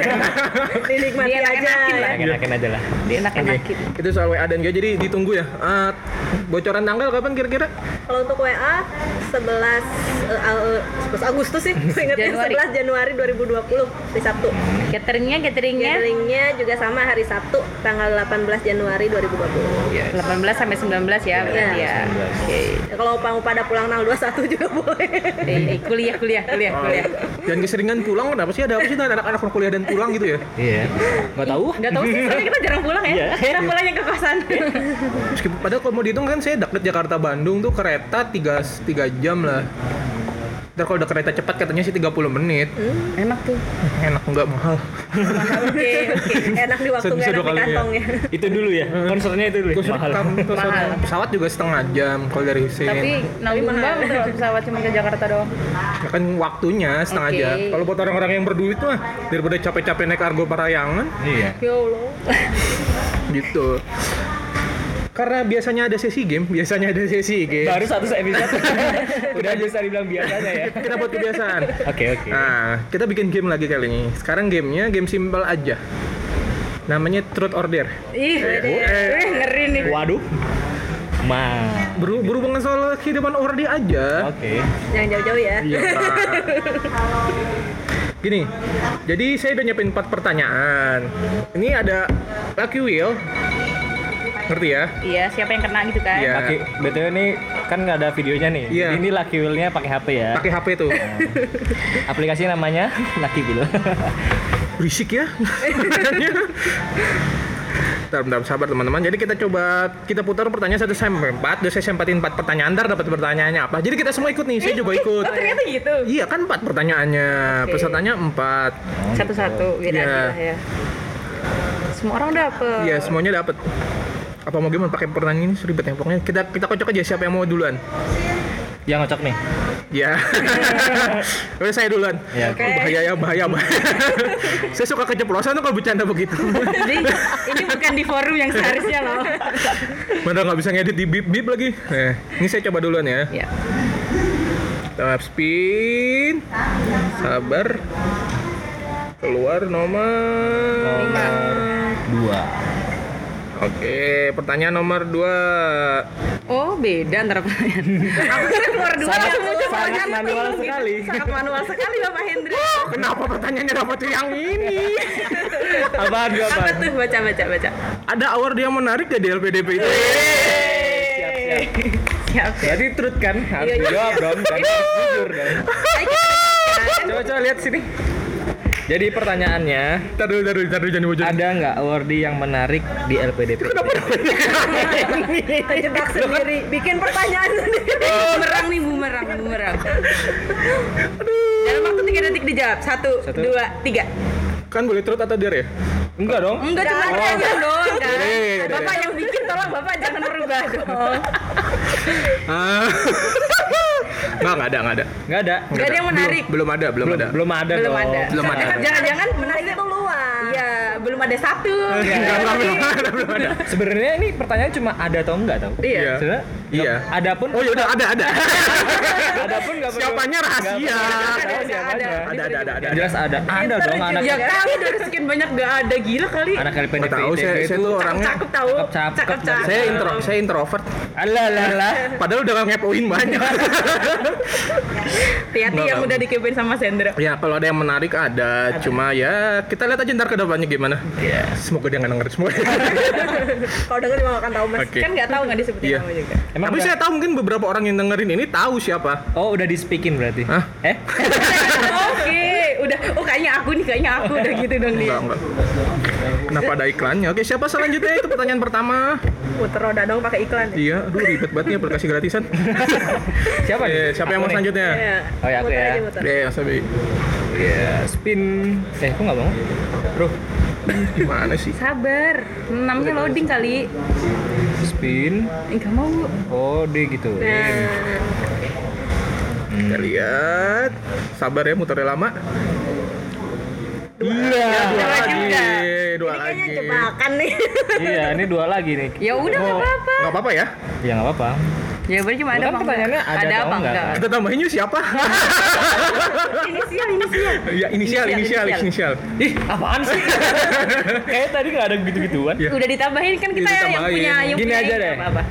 Speaker 4: [LAUGHS] dinikmati
Speaker 2: Dia
Speaker 4: aja
Speaker 2: enak-enakin lah.
Speaker 3: Enak-enakin aja lah. gitu,
Speaker 2: enak-enakin
Speaker 1: itu soal WA dan gak jadi ditunggu ya Eh, bocoran tanggal kapan kira-kira
Speaker 4: Kalau untuk WA 11 eh, eh, 11 Agustus sih, seingatnya
Speaker 2: Januari.
Speaker 4: 11 Januari 2020 hari Sabtu.
Speaker 2: gatheringnya gatheringnya
Speaker 4: Gatheringnya juga sama hari Sabtu tanggal 18 Januari 2020.
Speaker 2: 18 sampai 19 ya berarti ya
Speaker 3: Iya.
Speaker 2: oke
Speaker 4: Ya, Kalau mau pada pulang tanggal 21 juga [LAUGHS] boleh.
Speaker 2: Eh, eh, kuliah, kuliah, kuliah,
Speaker 3: Oh.
Speaker 2: kuliah.
Speaker 1: Dan keseringan pulang oh, kenapa sih ada apa sih dengan anak-anak kuliah dan pulang gitu ya?
Speaker 3: Iya. Gak tahu.
Speaker 2: Nggak tahu sih, soalnya kita jarang pulang
Speaker 3: Iya.
Speaker 2: ya. Kita pulangnya ke kosan.
Speaker 1: Meskipun padahal kalau mau dihitung kan saya deket Jakarta Bandung tuh kereta 3 3 jam lah. Ntar kalau udah kereta cepat katanya sih 30 menit.
Speaker 2: Enak tuh.
Speaker 3: Iya.
Speaker 1: Enak nggak mahal.
Speaker 4: Oke, oke. Enak di waktu nggak
Speaker 1: Bisa
Speaker 4: enak
Speaker 1: dua
Speaker 4: di
Speaker 1: kali, ya.
Speaker 4: kantong ya.
Speaker 3: [LAUGHS] Itu dulu ya. Konsernya itu dulu.
Speaker 1: Terus
Speaker 3: ya? Mahal.
Speaker 1: kam- terus
Speaker 2: Mahal.
Speaker 1: pesawat juga setengah jam kalau dari sini.
Speaker 2: Tapi nanggung
Speaker 4: mahal.
Speaker 2: banget kalau pesawat cuma ke Jakarta doang.
Speaker 1: Ya kan waktunya setengah
Speaker 2: Oke.
Speaker 1: jam. Kalau buat orang-orang yang berduit mah daripada capek-capek naik argo parayangan
Speaker 3: Iya.
Speaker 2: Ya Allah.
Speaker 1: gitu. Karena biasanya ada sesi game, biasanya ada sesi game.
Speaker 3: Baru satu episode. [LAUGHS] Udah bisa dibilang biasanya ya.
Speaker 1: Kita buat kebiasaan.
Speaker 3: Oke oke.
Speaker 1: Nah, kita bikin game lagi kali ini. Sekarang gamenya game simple aja. Namanya Truth or Dare.
Speaker 2: Ih, eh, ngeri nih.
Speaker 3: Waduh. Ma.
Speaker 1: Beru berhubungan soal kehidupan orang dia aja.
Speaker 3: Oke.
Speaker 4: Jangan jauh-jauh ya.
Speaker 1: Iya. Pak. Gini, jadi saya udah nyiapin empat pertanyaan. Ini ada Lucky Wheel. Ngerti ya?
Speaker 2: Iya, siapa yang kena gitu kan?
Speaker 1: Iya.
Speaker 3: Laki, btw ini kan nggak ada videonya nih.
Speaker 1: Iya.
Speaker 3: Jadi Ini laki wheelnya pakai HP ya.
Speaker 1: Pakai HP tuh.
Speaker 3: Aplikasi namanya [LAUGHS] Laki Wheel.
Speaker 1: [LAUGHS] Berisik ya. Bentar, bentar, sabar teman-teman. Jadi kita coba kita putar pertanyaan satu sampai empat. Udah saya sempatin empat pertanyaan, ntar dapat pertanyaannya apa. Jadi kita semua ikut nih. Saya juga ikut.
Speaker 2: Oh, ternyata gitu.
Speaker 1: Iya kan empat pertanyaannya.
Speaker 2: Oke.
Speaker 1: Pesertanya empat.
Speaker 2: Satu-satu, beda
Speaker 1: Iya.
Speaker 2: aja ya. Semua orang dapet.
Speaker 1: Iya semuanya dapat. Apa mau gimana pakai pertanyaan ini seribet ya pokoknya. Kita kita kocok aja siapa yang mau duluan.
Speaker 3: Yang ngocok nih.
Speaker 1: Ya. Oke saya duluan.
Speaker 3: Ya.
Speaker 4: Oke.
Speaker 1: Bahaya ya bahaya. bahaya. [LAUGHS] saya suka keceplosan tuh kalau bercanda begitu.
Speaker 2: Jadi ini bukan di forum yang seharusnya loh.
Speaker 1: Mana nggak bisa ngedit di bip bip lagi. Eh, ini saya coba duluan ya.
Speaker 2: Iya.
Speaker 1: Tap spin. Sabar. Keluar nomor.
Speaker 3: Dua.
Speaker 1: Oke, pertanyaan nomor dua.
Speaker 2: Oh, beda antara pertanyaan. Aku kira keluar dua
Speaker 3: Sangat-
Speaker 2: langsung muncul
Speaker 3: sangat
Speaker 2: pertanyaan
Speaker 3: manual
Speaker 2: penting.
Speaker 3: sekali.
Speaker 2: Sangat manual sekali Bapak Hendri.
Speaker 1: Kenapa pertanyaannya dapat yang ini?
Speaker 3: Apaan dua
Speaker 2: Apa
Speaker 3: apaan?
Speaker 2: tuh baca baca baca.
Speaker 1: Ada award yang menarik gak di LPDP itu?
Speaker 3: Siap siap.
Speaker 2: Siap.
Speaker 3: Berarti truth kan? Harus
Speaker 2: Iya, iya,
Speaker 3: dijawab
Speaker 2: iya.
Speaker 3: dong. Dan harus jujur dong. Coba coba lihat sini. Jadi pertanyaannya,
Speaker 1: Ntar dulu, ntar dulu, ntar dulu, jangan dibocor.
Speaker 3: ada nggak awardee yang menarik di LPDP?
Speaker 4: Terjebak sendiri, bikin pertanyaan sendiri.
Speaker 2: Bumerang nih bumerang bumerang. Dalam waktu tiga detik dijawab. Satu,
Speaker 3: Satu.
Speaker 2: dua, tiga.
Speaker 1: Kan boleh truth atau dare ya?
Speaker 3: Enggak dong.
Speaker 2: Enggak cuma pertanyaan doang kan.
Speaker 1: Dare, dare.
Speaker 2: Bapak yang bikin tolong Bapak jangan berubah dong.
Speaker 1: Ah. Nggak, nggak ada, nggak ada.
Speaker 3: Nggak ada.
Speaker 2: Gak ada yang menarik.
Speaker 1: Belum, belum ada, belum,
Speaker 3: Belum
Speaker 1: ada.
Speaker 3: belum ada
Speaker 2: Belum
Speaker 3: dong.
Speaker 2: ada.
Speaker 1: Belum ada.
Speaker 2: Jangan-jangan
Speaker 4: Menarik itu luas.
Speaker 2: Iya, belum ada satu.
Speaker 3: Iya,
Speaker 2: Iya.
Speaker 1: Nggak, nggak, belum ada, belum ada.
Speaker 3: Sebenarnya ini pertanyaan cuma ada atau enggak tau?
Speaker 2: Iya.
Speaker 1: Iya.
Speaker 3: Sebenarnya
Speaker 1: Iya.
Speaker 3: ada pun
Speaker 1: Oh yaudah, ada, ada.
Speaker 3: ada pun enggak perlu.
Speaker 1: Siapanya rahasia.
Speaker 3: Ada ada
Speaker 1: Ada, ada, ada, ada.
Speaker 3: Yang jelas ada. Ada dong anak
Speaker 2: Ya kali dari sekian banyak gak ada gila kali.
Speaker 3: anak LPDP.
Speaker 1: Nggak tahu, saya, saya tuh orangnya.
Speaker 2: Cakep tahu.
Speaker 3: Cakep, cakep.
Speaker 2: cakep.
Speaker 1: Saya intro, saya introvert.
Speaker 3: Alah alah alah.
Speaker 1: Padahal udah ngepoin banyak.
Speaker 3: [LAUGHS]
Speaker 2: Hati-hati yang udah dikepoin sama Sandra.
Speaker 1: ya kalau ada yang menarik ada, cuma ya kita lihat aja ntar ke depannya gimana.
Speaker 3: Iya.
Speaker 1: Semoga dia nggak denger semua.
Speaker 4: Kalau denger juga nggak akan tahu mas.
Speaker 1: Oke.
Speaker 2: Kan nggak tahu nggak disebutin
Speaker 1: Iya.
Speaker 2: nama juga.
Speaker 3: Emang
Speaker 1: Tapi
Speaker 3: udah-
Speaker 1: saya tahu mungkin beberapa orang yang dengerin ini tahu siapa.
Speaker 3: Oh, udah di speakin berarti.
Speaker 1: Hah?
Speaker 3: Eh?
Speaker 2: Oke, udah. Oh kayaknya aku nih, kayaknya aku udah gitu dong dia.
Speaker 1: Enggak, enggak. Kenapa ada iklannya? Oke, siapa selanjutnya? Itu pertanyaan pertama.
Speaker 4: Puter roda dong pakai iklan. ya.
Speaker 1: Iya, aduh ribet banget ya aplikasi gratisan.
Speaker 3: Siapa nih?
Speaker 1: Oke, Eh, siapa yang
Speaker 3: Aku
Speaker 1: mau
Speaker 3: nih.
Speaker 1: selanjutnya?
Speaker 4: Iya.
Speaker 3: Oh, ya, aku
Speaker 4: Muter
Speaker 3: ya.
Speaker 4: aja, muter.
Speaker 1: Iya, Sabi.
Speaker 3: Iya, spin. Eh, aku enggak bangun. Bro,
Speaker 1: Gimana sih?
Speaker 2: Sabar, namanya loading kali.
Speaker 3: spin.
Speaker 2: Enggak mau.
Speaker 3: Oh, D gitu.
Speaker 4: Nah,
Speaker 1: Kita lihat. Sabar ya, muternya lama.
Speaker 3: Iya.
Speaker 1: Dua
Speaker 2: Sabar
Speaker 1: lagi.
Speaker 2: juga.
Speaker 1: Dua
Speaker 4: ini
Speaker 1: lagi.
Speaker 4: kayaknya jebakan nih. [LAUGHS]
Speaker 3: Iya, ini dua lagi nih.
Speaker 2: Ya udah nggak apa-apa.
Speaker 1: Nggak apa-apa ya.
Speaker 3: Ya enggak apa-apa.
Speaker 2: Jawabannya cuma ada
Speaker 4: Kan
Speaker 3: Bukan
Speaker 2: apa enggak?
Speaker 3: pertanyaannya ada atau
Speaker 2: apa
Speaker 3: enggak?
Speaker 2: enggak?
Speaker 1: Kita tambahinnya siapa?
Speaker 2: Inisial, inisial.
Speaker 1: ya, inisial, inisial,
Speaker 2: Inisial,
Speaker 1: inisial.
Speaker 3: Ih, apaan [LAUGHS] sih? Kayaknya tadi nggak ada gitu-gituan.
Speaker 1: Iya.
Speaker 2: Udah ditambahin kan kita
Speaker 1: Iya,
Speaker 2: yang
Speaker 1: ditambahin.
Speaker 2: punya yang
Speaker 3: Gini
Speaker 2: punya
Speaker 3: aja
Speaker 2: ini,
Speaker 3: deh.
Speaker 2: nggak Apa-apa.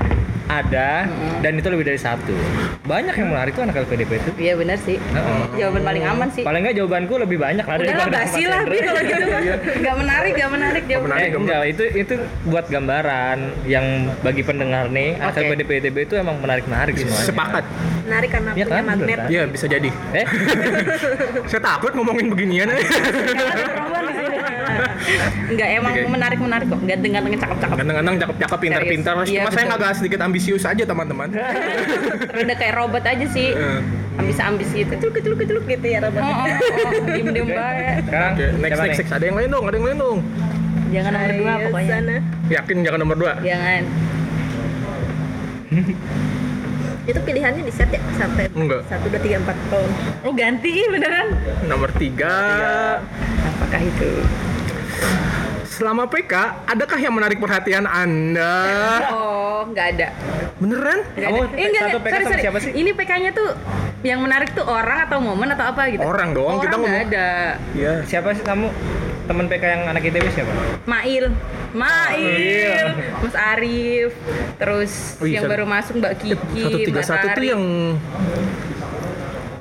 Speaker 3: ada dan itu lebih dari satu. Banyak yang menarik tuh anak LPDP itu.
Speaker 2: Iya benar sih.
Speaker 3: Heeh.
Speaker 2: Jawaban paling aman sih.
Speaker 3: Paling nggak jawabanku lebih banyak lah
Speaker 2: Udah lah
Speaker 3: daripada
Speaker 2: basi
Speaker 3: Mas
Speaker 2: lah
Speaker 3: Hendra.
Speaker 2: Bi kalau
Speaker 3: [LAUGHS]
Speaker 2: gitu mah. Gak menarik, gak menarik
Speaker 1: Nggak
Speaker 2: jawaban.
Speaker 1: menarik.
Speaker 3: Eh, enggak, itu itu buat gambaran yang bagi pendengar nih, anak
Speaker 2: Oke.
Speaker 3: LPDP ITB itu emang menarik-menarik semuanya.
Speaker 1: Sepakat.
Speaker 4: menarik karena
Speaker 3: Iya
Speaker 4: punya
Speaker 3: kan,
Speaker 4: magnet
Speaker 3: bener kan?
Speaker 1: Ya bisa jadi.
Speaker 3: Eh,
Speaker 1: Saya takut ngomongin beginian. [LAUGHS]
Speaker 2: Karena ada perempuan di sini. Enggak emang
Speaker 1: Oke.
Speaker 2: menarik-menarik kok. Ganteng-ganteng cakep-cakep.
Speaker 1: Kadang-kadang cakep-cakep, pintar-pintar.
Speaker 2: Serius. Iya,
Speaker 1: Cuma saya
Speaker 2: betul.
Speaker 1: agak sedikit ambisius aja teman-teman.
Speaker 2: Udah kayak robot aja sih.
Speaker 1: Eh,
Speaker 2: Ambis-ambis gitu.
Speaker 4: celuk celuk celuk gitu ya
Speaker 2: Oh,
Speaker 4: robot
Speaker 2: oh, oh, diem-diem baik.
Speaker 3: sekarang
Speaker 1: Oke, next,
Speaker 3: siapa
Speaker 1: next,
Speaker 3: nih?
Speaker 1: next. Ada yang lain dong, ada yang lain dong.
Speaker 2: Jangan nomor dua
Speaker 4: Ayo,
Speaker 2: pokoknya.
Speaker 4: sana.
Speaker 1: Yakin jangan nomor dua.
Speaker 2: Jangan.
Speaker 4: itu pilihannya di set ya sampai
Speaker 1: Enggak.
Speaker 4: satu dua tiga empat tahun
Speaker 2: Oh ganti beneran.
Speaker 1: Nomor tiga.
Speaker 2: Apakah itu?
Speaker 1: Selama PK, adakah yang menarik perhatian Anda? Ah.
Speaker 2: Oh, nggak ada.
Speaker 1: Beneran?
Speaker 2: Nggak
Speaker 3: Kamu
Speaker 2: ada. Eh, nggak,
Speaker 3: satu
Speaker 2: nggak.
Speaker 3: PK
Speaker 2: Sorry,
Speaker 3: sama
Speaker 2: sorry.
Speaker 3: siapa sih?
Speaker 2: Ini PK-nya tuh yang menarik tuh orang atau momen atau apa gitu?
Speaker 1: Orang dong,
Speaker 2: Orang
Speaker 1: kita
Speaker 2: nggak
Speaker 1: ngomong.
Speaker 2: ada.
Speaker 1: Iya.
Speaker 3: Siapa sih kamu teman PK yang anak ITB siapa?
Speaker 2: Mail, Mail,
Speaker 3: Mail.
Speaker 2: Mas Arif, terus
Speaker 1: Wih, Oh, iya,
Speaker 2: yang
Speaker 1: satu-
Speaker 2: baru masuk Mbak Kiki,
Speaker 1: Satu tiga
Speaker 2: Mbak
Speaker 1: satu tuh
Speaker 2: Tari.
Speaker 1: yang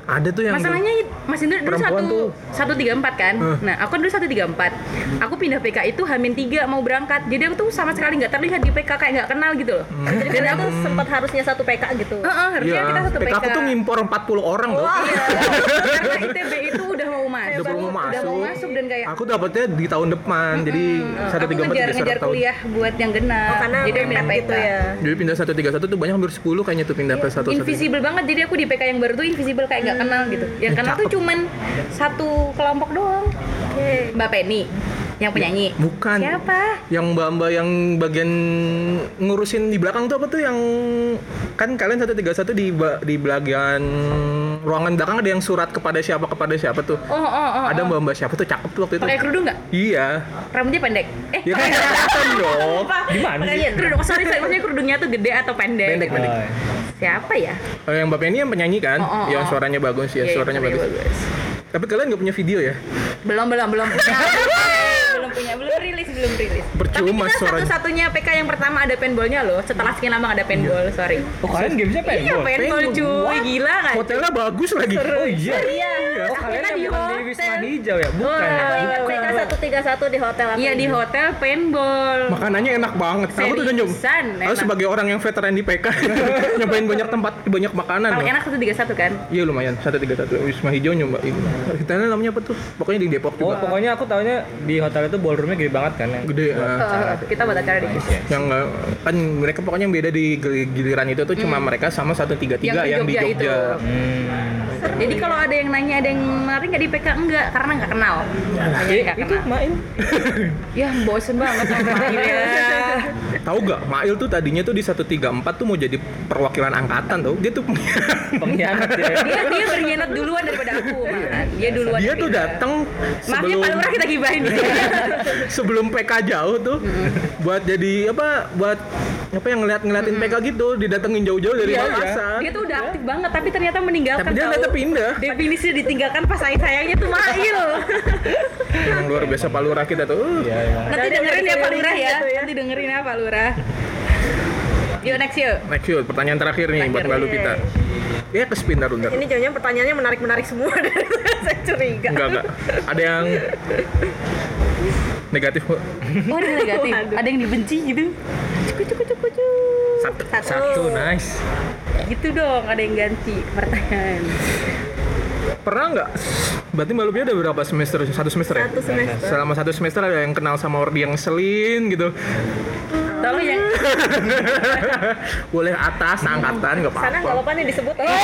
Speaker 1: ada tuh yang
Speaker 2: Masalahnya Mas Indra dulu
Speaker 1: Perempuan
Speaker 2: satu
Speaker 1: tuh.
Speaker 2: satu tiga empat kan?
Speaker 1: Hah.
Speaker 2: Nah aku dulu satu tiga empat. Aku pindah PK itu hamin tiga mau berangkat. Jadi aku tuh sama sekali nggak terlihat di PK kayak nggak kenal gitu loh.
Speaker 4: jadi
Speaker 2: Dan
Speaker 4: kita
Speaker 2: aku
Speaker 4: tuh sempat harusnya satu PK gitu
Speaker 2: Heeh, harusnya kita satu PK.
Speaker 1: PK Iya. aku tuh ngimpor 40 orang loh.
Speaker 2: Iya. Karena ITB itu udah mau masuk,
Speaker 1: udah baru mau masuk.
Speaker 2: udah mau masuk dan kayak "Hmm,
Speaker 1: Aku dapetnya di tahun depan. Jadi satu
Speaker 2: iya. aku
Speaker 1: tiga empat
Speaker 2: ngejar ngejar kuliah buat yang genap.
Speaker 4: oh, karena
Speaker 2: jadi aku pindah
Speaker 4: mepet
Speaker 2: PK.
Speaker 4: gitu ya
Speaker 1: Jadi pindah satu tiga satu tuh banyak hampir 10 kayaknya tuh pindah ke satu satu.
Speaker 2: invisible banget jadi aku di PK yang baru tuh invisible kayak nggak kenal gitu yang
Speaker 1: Ih,
Speaker 2: kenal tuh
Speaker 1: Hmm. cakep.
Speaker 2: cuman satu kelompok doang Mbak Penny yang penyanyi
Speaker 1: Bukan.
Speaker 2: siapa
Speaker 1: Yang mbak-mbak yang bagian ngurusin di belakang tuh apa tuh yang kan kalian satu tiga satu di ba- di bagian ruangan belakang ada yang surat kepada siapa kepada siapa tuh.
Speaker 2: oh oh oh
Speaker 1: Ada
Speaker 2: oh.
Speaker 1: mbak-mbak siapa tuh cakep tuh waktu itu.
Speaker 2: pakai kerudung nggak
Speaker 1: Iya.
Speaker 2: rambutnya pendek eh
Speaker 1: Ya kan
Speaker 2: [LAUGHS]
Speaker 1: kelihatan dong.
Speaker 3: Gimana
Speaker 2: pakai
Speaker 3: sih?
Speaker 2: kerudung Oh, sorry sorry maksudnya kerudungnya tuh gede atau pendek,
Speaker 1: Pendek pendek.
Speaker 3: Oh,
Speaker 2: siapa ya
Speaker 1: Oh, yang Mbak Penny yang penyanyi kan?
Speaker 2: Oh, oh,
Speaker 1: yang
Speaker 2: oh.
Speaker 1: suaranya bagus ya,
Speaker 2: Iya, Nah,
Speaker 1: suaranya bagus. Tapi kalian nggak punya video ya?
Speaker 2: belum belum belum [LAUGHS] punya belum punya belum rilis belum rilis
Speaker 1: Percuma
Speaker 2: tapi kita
Speaker 1: suaranya.
Speaker 2: satu-satunya PK yang pertama ada paintballnya loh setelah sekian lama nggak ada paintball sorry
Speaker 3: Oh, kalian gamesnya pengen
Speaker 2: Iya, paintball
Speaker 1: Paintball,
Speaker 2: cuy,
Speaker 1: what?
Speaker 2: gila nggak?
Speaker 1: Hotelnya bagus lagi.
Speaker 3: Oh iya.
Speaker 4: iya
Speaker 3: Oh, kalian
Speaker 4: kita
Speaker 3: yang
Speaker 4: di
Speaker 3: bukan di Wisma
Speaker 4: hotel
Speaker 3: Hijau ya? Bukan. ya?
Speaker 2: Wah.
Speaker 4: Ingat PK satu tiga satu di hotel aku
Speaker 2: Iya di hotel paintball.
Speaker 1: Makanannya enak banget. Aku tuh udah nyob.
Speaker 2: Seriusan,
Speaker 1: Aku
Speaker 2: enak.
Speaker 1: sebagai orang yang veteran di PK [LAUGHS] nyobain banyak tempat, banyak makanan.
Speaker 2: Paling
Speaker 1: loh.
Speaker 2: enak satu tiga satu kan?
Speaker 1: Iya lumayan. 131 Wisma Hijau nyobain. Hotelnya namanya apa tuh? Pokoknya di Depok
Speaker 3: Oh,
Speaker 1: juga.
Speaker 3: pokoknya aku taunya di hotel itu ballroomnya gede banget kan. yang-
Speaker 1: Gede. eh.
Speaker 2: Eh, kita buat acara di
Speaker 3: Nice ya.
Speaker 1: yang nggak kan mereka pokoknya yang beda di gil- giliran itu tuh cuma mereka sama 133 yang,
Speaker 2: Hmm. Yang
Speaker 1: di
Speaker 2: di Jogja Hmm.
Speaker 1: Jogja.
Speaker 2: itu. Jadi kalau ada yang nanya ada yang menarik nggak di PK enggak karena nggak kenal. Banyak
Speaker 3: Eh,
Speaker 2: yang nggak
Speaker 3: itu
Speaker 2: kenal.
Speaker 3: main.
Speaker 2: Nah, Ya bosen [LAUGHS] banget sama Mail ya.
Speaker 1: Tahu gak, Mail tuh tadinya tuh di 134 tuh mau jadi perwakilan angkatan tuh. Dia tuh
Speaker 3: Pengkhianat ya.
Speaker 2: Dia dia berkhianat duluan daripada aku. malahan. Dia duluan.
Speaker 1: dia tuh
Speaker 2: daripada-
Speaker 1: datang
Speaker 2: Maaf ya
Speaker 1: sebelum Iya,
Speaker 2: Pak Lurah kita gibahin dia.
Speaker 1: sebelum PK jauh tuh buat jadi apa buat apa yang ngeliat ngeliatin PK gitu didatengin jauh-jauh dari
Speaker 2: Iya,
Speaker 1: Makassar
Speaker 2: Dia tuh udah aktif banget tapi ternyata meninggalkan.
Speaker 1: tapi dia
Speaker 2: tahu.
Speaker 1: ternyata pindah
Speaker 2: Definisi ditinggalkan pas sayang sayangnya tuh [LAUGHS] Mail.
Speaker 1: emang luar biasa palura kita tuh Uh.
Speaker 3: Iya, emang.
Speaker 2: Nanti
Speaker 4: Nanti
Speaker 2: dengerin ya
Speaker 4: dengerin
Speaker 2: Pak Lurah ya.
Speaker 4: gitu ya.
Speaker 2: Nanti dengerin ya Pak Lurah. Yuk next yuk.
Speaker 1: next yuk pertanyaan terakhir nih buat
Speaker 2: Terakhir,
Speaker 1: balu
Speaker 4: iya.
Speaker 1: kita ya ke spin dulu ntar
Speaker 4: ini jangan pertanyaannya menarik menarik semua [LAUGHS] saya curiga
Speaker 1: enggak enggak ada yang negatif Bu.
Speaker 2: Oh ada negatif. Ada yang dibenci gitu. Cukup cukup cukup cukup.
Speaker 1: satu
Speaker 3: Satu, nice.
Speaker 2: Gitu dong. Ada yang ganti pertanyaan.
Speaker 1: pernah nggak berarti mbak Lupia udah berapa semester satu semester ya
Speaker 4: satu semester
Speaker 1: selama satu semester ada yang kenal sama orang yang selin gitu
Speaker 2: Tolong ya. [LAUGHS] yang
Speaker 1: [LAUGHS] boleh atas angkatan nggak
Speaker 4: sana nggak
Speaker 1: apa-apa
Speaker 4: apa-apa nih disebut
Speaker 2: iya. Eh,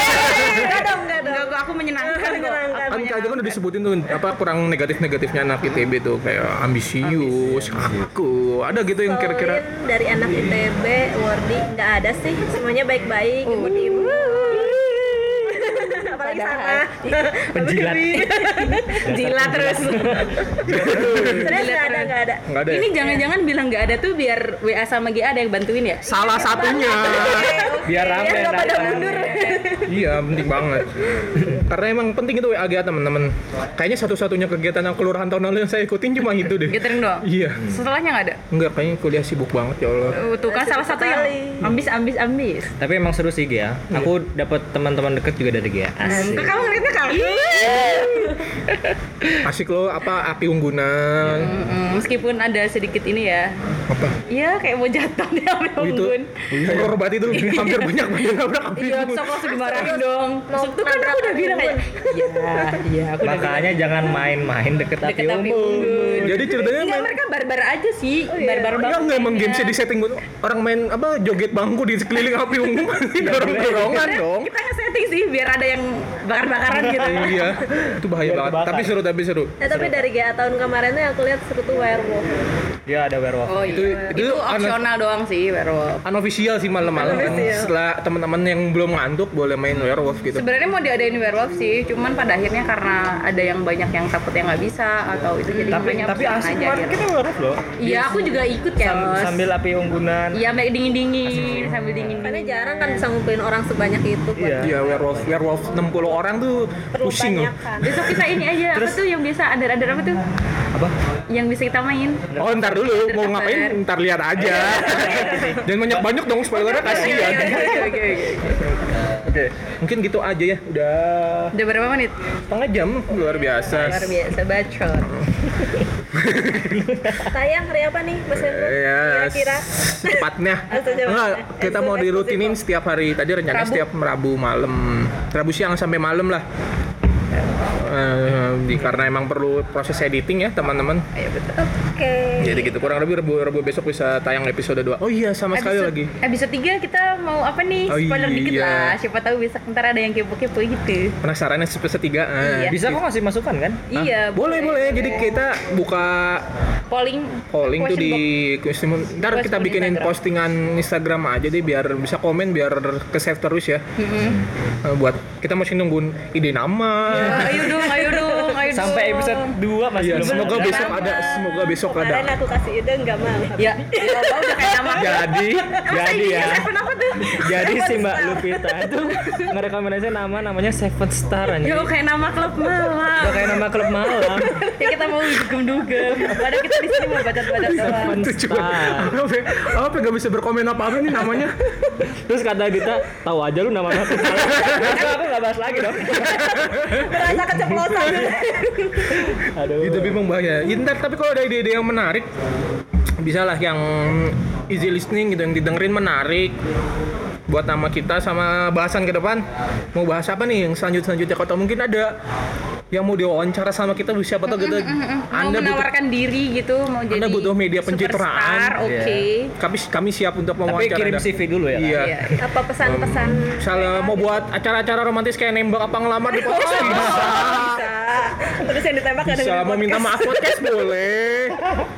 Speaker 2: Enggak dong, enggak dong. Enggak, aku menyenangkan kok.
Speaker 4: Menyenangkan.
Speaker 2: Aku
Speaker 1: kan kalian udah disebutin tuh apa kurang negatif negatifnya anak ITB tuh kayak ambisius, kaku, ada gitu yang
Speaker 4: [LAUGHS] Kira-kira
Speaker 1: kira-kira
Speaker 4: dari anak
Speaker 3: Iya.
Speaker 4: ITB, Wardi nggak ada sih, semuanya baik-baik,
Speaker 2: Oh.
Speaker 4: ibu-ibu. Apalagi
Speaker 2: Padahal.
Speaker 4: sana.
Speaker 3: Penjilat.
Speaker 2: Jilat terus.
Speaker 4: [LAUGHS] Serius nggak ada, nggak ada.
Speaker 1: nggak ada. ya?
Speaker 2: Ini jangan-jangan bilang nggak ada tuh biar WA sama GA ada yang bantuin ya?
Speaker 1: Salah satunya.
Speaker 4: Oke, oke.
Speaker 3: biar
Speaker 4: Biar
Speaker 3: rame
Speaker 4: nggak pada
Speaker 3: anak-anak.
Speaker 4: mundur.
Speaker 1: Iya, penting banget. Karena emang penting itu WAG teman-teman. Kayaknya satu-satunya kegiatan yang kelurahan tahun lalu yang saya ikutin cuma itu deh.
Speaker 2: Gathering doang.
Speaker 1: Iya.
Speaker 2: Setelahnya nggak ada.
Speaker 1: Enggak, kayaknya kuliah sibuk banget ya Allah.
Speaker 2: Uh, tuh kan
Speaker 4: Masih
Speaker 2: salah satu yang
Speaker 4: sekali.
Speaker 2: ambis ambis ambis.
Speaker 3: tapi emang seru sih Gia aku dapat teman-teman deket juga dari Gia
Speaker 2: Nah, Kok kamu ngeliatnya kali?
Speaker 1: Iya. Asik loh apa api unggunan.
Speaker 2: Mm-mm, Mm, Meskipun ada sedikit ini ya,
Speaker 1: Apa?
Speaker 2: Iya kayak mau jatuh nih ambil
Speaker 1: Oh, itu
Speaker 2: unggun.
Speaker 1: horor banget itu hampir banyak banget yang nabrak api
Speaker 2: Iya,
Speaker 1: unggun.
Speaker 2: sok langsung dimarahin dong. Sok tuh kan aku udah bilang kayak, iya, iya aku udah bilang.
Speaker 3: makanya jangan main-main deket api
Speaker 2: [LAUGHS] Deket api unggun.
Speaker 1: Jadi
Speaker 4: Iya,
Speaker 1: ceritanya
Speaker 2: Enggak,
Speaker 1: main Iya,
Speaker 2: mereka barbar aja sih,
Speaker 4: Oh,
Speaker 2: barbar
Speaker 1: Enggak,
Speaker 2: banget.
Speaker 1: enggak emang
Speaker 2: kayaknya.
Speaker 1: gamesnya di setting buat orang main apa joget bangku di sekeliling api unggun [LAUGHS] dorong-dorongan kan, dong.
Speaker 2: Kita nge-setting sih biar ada yang bakar-bakaran gitu.
Speaker 1: [LAUGHS] Iya, itu bahaya
Speaker 3: Biar
Speaker 1: banget.
Speaker 3: kebakar.
Speaker 1: Tapi seru, tapi seru.
Speaker 4: Nah, tapi dari GA tahun kemarin tuh yang aku lihat seru tuh werewolf.
Speaker 3: dia ada werewolf
Speaker 2: Oh iya. Itu,
Speaker 1: Itu- itu
Speaker 2: opsional doang sih, werewolf.
Speaker 1: Unofficial sih malam-malam kan.
Speaker 4: Unofficial.
Speaker 1: Setelah teman-teman yang belum ngantuk boleh main werewolf gitu.
Speaker 2: Sebenarnya mau diadain werewolf sih, cuman pada akhirnya karena ada yang banyak yang takut yang nggak bisa atau itu jadi
Speaker 3: tapi
Speaker 2: akhirnya
Speaker 3: tapi
Speaker 2: opsional
Speaker 3: asik
Speaker 2: aja
Speaker 3: kemarin
Speaker 2: gitu.
Speaker 3: kita werewolf loh
Speaker 2: Iya, aku juga ikut ya,
Speaker 3: Sam-
Speaker 2: Bos.
Speaker 3: sambil api unggunan
Speaker 2: Iya, sampai dingin-dingin, sambil dingin.
Speaker 4: Karena jarang kan bisa ngumpulin orang sebanyak itu. Pak.
Speaker 3: Iya.
Speaker 1: Iya, werewolf, werewolf 60 orang tuh
Speaker 4: Perlu
Speaker 1: pusing loh.
Speaker 4: banyak kan.
Speaker 2: Besok kita ini aja, apa tuh yang biasa ada-ada apa tuh?
Speaker 3: apa
Speaker 2: Yang bisa kita main.
Speaker 1: Oh ntar dulu, mau ngapain ntar lihat aja
Speaker 4: Iya.
Speaker 1: [LAUGHS] Jangan banyak-banyak dong, spoilernya
Speaker 2: Oke,
Speaker 1: kasihan
Speaker 2: oke, oke, oke.
Speaker 1: Oke, mungkin gitu aja ya, udah
Speaker 2: Udah berapa menit?
Speaker 1: setengah jam, luar biasa
Speaker 4: Luar biasa
Speaker 2: [LAUGHS]
Speaker 4: bacot. Sayang hari apa nih Mas Hendro?
Speaker 1: Ya,
Speaker 4: Kira-kira
Speaker 2: [LAUGHS]
Speaker 1: secepatnya
Speaker 4: Secepatnya.
Speaker 1: Enggak, kita mau
Speaker 4: Eksklusif,
Speaker 1: dirutinin setiap hari Tadi rencananya
Speaker 2: Rabu.
Speaker 1: setiap Rabu malam Rabu siang sampai malam lah Eh, di- karena emang perlu proses editing ya teman-teman
Speaker 2: Ayo betul.
Speaker 4: Oke.
Speaker 2: Iya.
Speaker 1: jadi gitu kurang lebih rebu rebu besok bisa tayang episode 2 oh iya sama sekali
Speaker 2: Episode-
Speaker 1: lagi
Speaker 2: Episode 3 kita mau apa nih?
Speaker 1: Oh,
Speaker 2: Spoiler dikit
Speaker 1: iya.
Speaker 2: lah. Siapa tahu bisa ntar ada yang kepo-kepo gitu.
Speaker 1: penasaran yang episode 3
Speaker 2: Iya.
Speaker 3: bisa kok ngasih masukan kan
Speaker 2: Iya.
Speaker 1: boleh boleh jadi kita buka
Speaker 2: polling
Speaker 1: polling Oh, tuh di
Speaker 2: question box.
Speaker 1: question box. ntar
Speaker 2: Question
Speaker 1: kita
Speaker 2: box
Speaker 1: bikinin
Speaker 2: Instagram.
Speaker 1: postingan Instagram aja deh biar bisa komen biar ke save terus ya
Speaker 2: Mm-mm. Mm-hmm.
Speaker 1: Eh, buat kita masih nungguin ide nama
Speaker 2: [LAUGHS] Ayo dong, ayo dong, ayo dong.
Speaker 3: sampai episode 2 masih
Speaker 1: Iya,
Speaker 3: belum
Speaker 1: semoga
Speaker 3: ada.
Speaker 1: besok ada, semoga besok ada. [LAUGHS]
Speaker 4: Kemarin aku kasih ide nggak mau.
Speaker 2: Ya, ya Allah, udah kayak nama. [LAUGHS]
Speaker 1: Jadi,
Speaker 3: jadi
Speaker 2: iya,
Speaker 3: ya
Speaker 2: Kenapa tuh?
Speaker 3: jadi si Mbak Lupita itu ngerekomendasi nama namanya Seven Star
Speaker 2: Ya
Speaker 3: aja
Speaker 2: kayak nama klub malam.
Speaker 3: Udah kayak nama klub malam
Speaker 2: Ya kita mau dugem-dugem. Padahal kita di sini mau baca-baca doang.
Speaker 3: Seven
Speaker 1: itu juga
Speaker 3: Star
Speaker 1: apa, ya? apa gak bisa berkomen apa apa nih namanya
Speaker 3: terus kata kita tahu aja lu nama aku
Speaker 2: [LAUGHS]
Speaker 3: Aku- Nah, aku nggak bahas lagi dong
Speaker 4: Berasa keceplosan.
Speaker 2: Iya.
Speaker 3: aduh
Speaker 1: itu tapi memang bahaya Ya, ntar tapi kalau ada ide-ide yang menarik bisalah yang easy listening gitu yang didengerin menarik buat nama kita sama bahasan ke depan mau bahas apa nih yang selanjut selanjutnya kalau mungkin ada yang mau diwawancara sama kita siapa tahu kita
Speaker 2: Mm, mau
Speaker 1: anda butuh
Speaker 2: menawarkan diri gitu mau jadi
Speaker 1: Anda butuh media pencitraan. iya.
Speaker 2: superstar, oke
Speaker 1: kami kami siap untuk
Speaker 3: tapi
Speaker 1: mewawancara
Speaker 3: kirim
Speaker 1: Anda.
Speaker 3: CV dulu ya Kak?
Speaker 1: iya
Speaker 2: Iya.
Speaker 4: Apa pesan-pesan?
Speaker 1: misalnya mau buat acara-acara romantis kayak nembak apa ngelamar [LAUGHS] di podcast bisa
Speaker 4: Bisa. Terus yang ditembak ada
Speaker 1: bisa mau minta maaf podcast [LAUGHS] boleh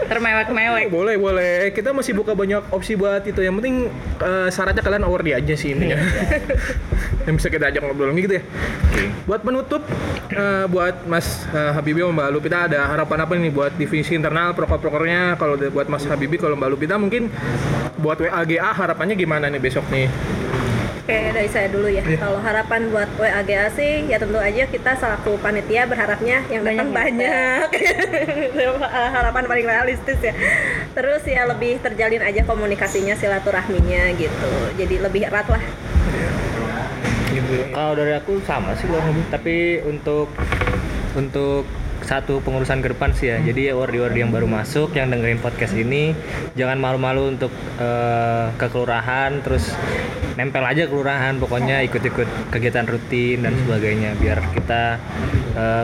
Speaker 2: termewek-mewek
Speaker 1: boleh boleh kita masih buka banyak opsi buat itu yang penting eh, syaratnya kalian aware aja sih ini ya [LAUGHS] yang bisa kita ajak ngobrol gitu ya buat penutup eh, buat Mas eh, Habibie sama Mbak Lupita ada harapan apa nih buat divisi internal proker-prokernya kalau de- buat Mas Habibie kalau Mbak Lupita mungkin buat WAGA harapannya gimana nih besok nih
Speaker 2: Um.
Speaker 4: Oke, dari saya dulu ya.
Speaker 2: Iya.
Speaker 4: Kalau harapan buat WAGA sih, ya tentu aja kita selaku panitia berharapnya
Speaker 2: ya?
Speaker 4: yang datang banyak.
Speaker 2: Iya.
Speaker 4: [LAUGHS] harapan paling realistis ya. Terus ya lebih terjalin aja komunikasinya, silaturahminya gitu. Jadi lebih erat lah.
Speaker 1: Iya.
Speaker 3: Kalau dari aku sama sih kurang lebih. Tapi untuk untuk satu pengurusan ke depan sih ya. Jadi wardi-wardi yang baru masuk yang dengerin podcast ini jangan malu-malu untuk eh, ke kelurahan terus nempel aja ke kelurahan pokoknya ikut-ikut kegiatan rutin dan sebagainya biar kita eh,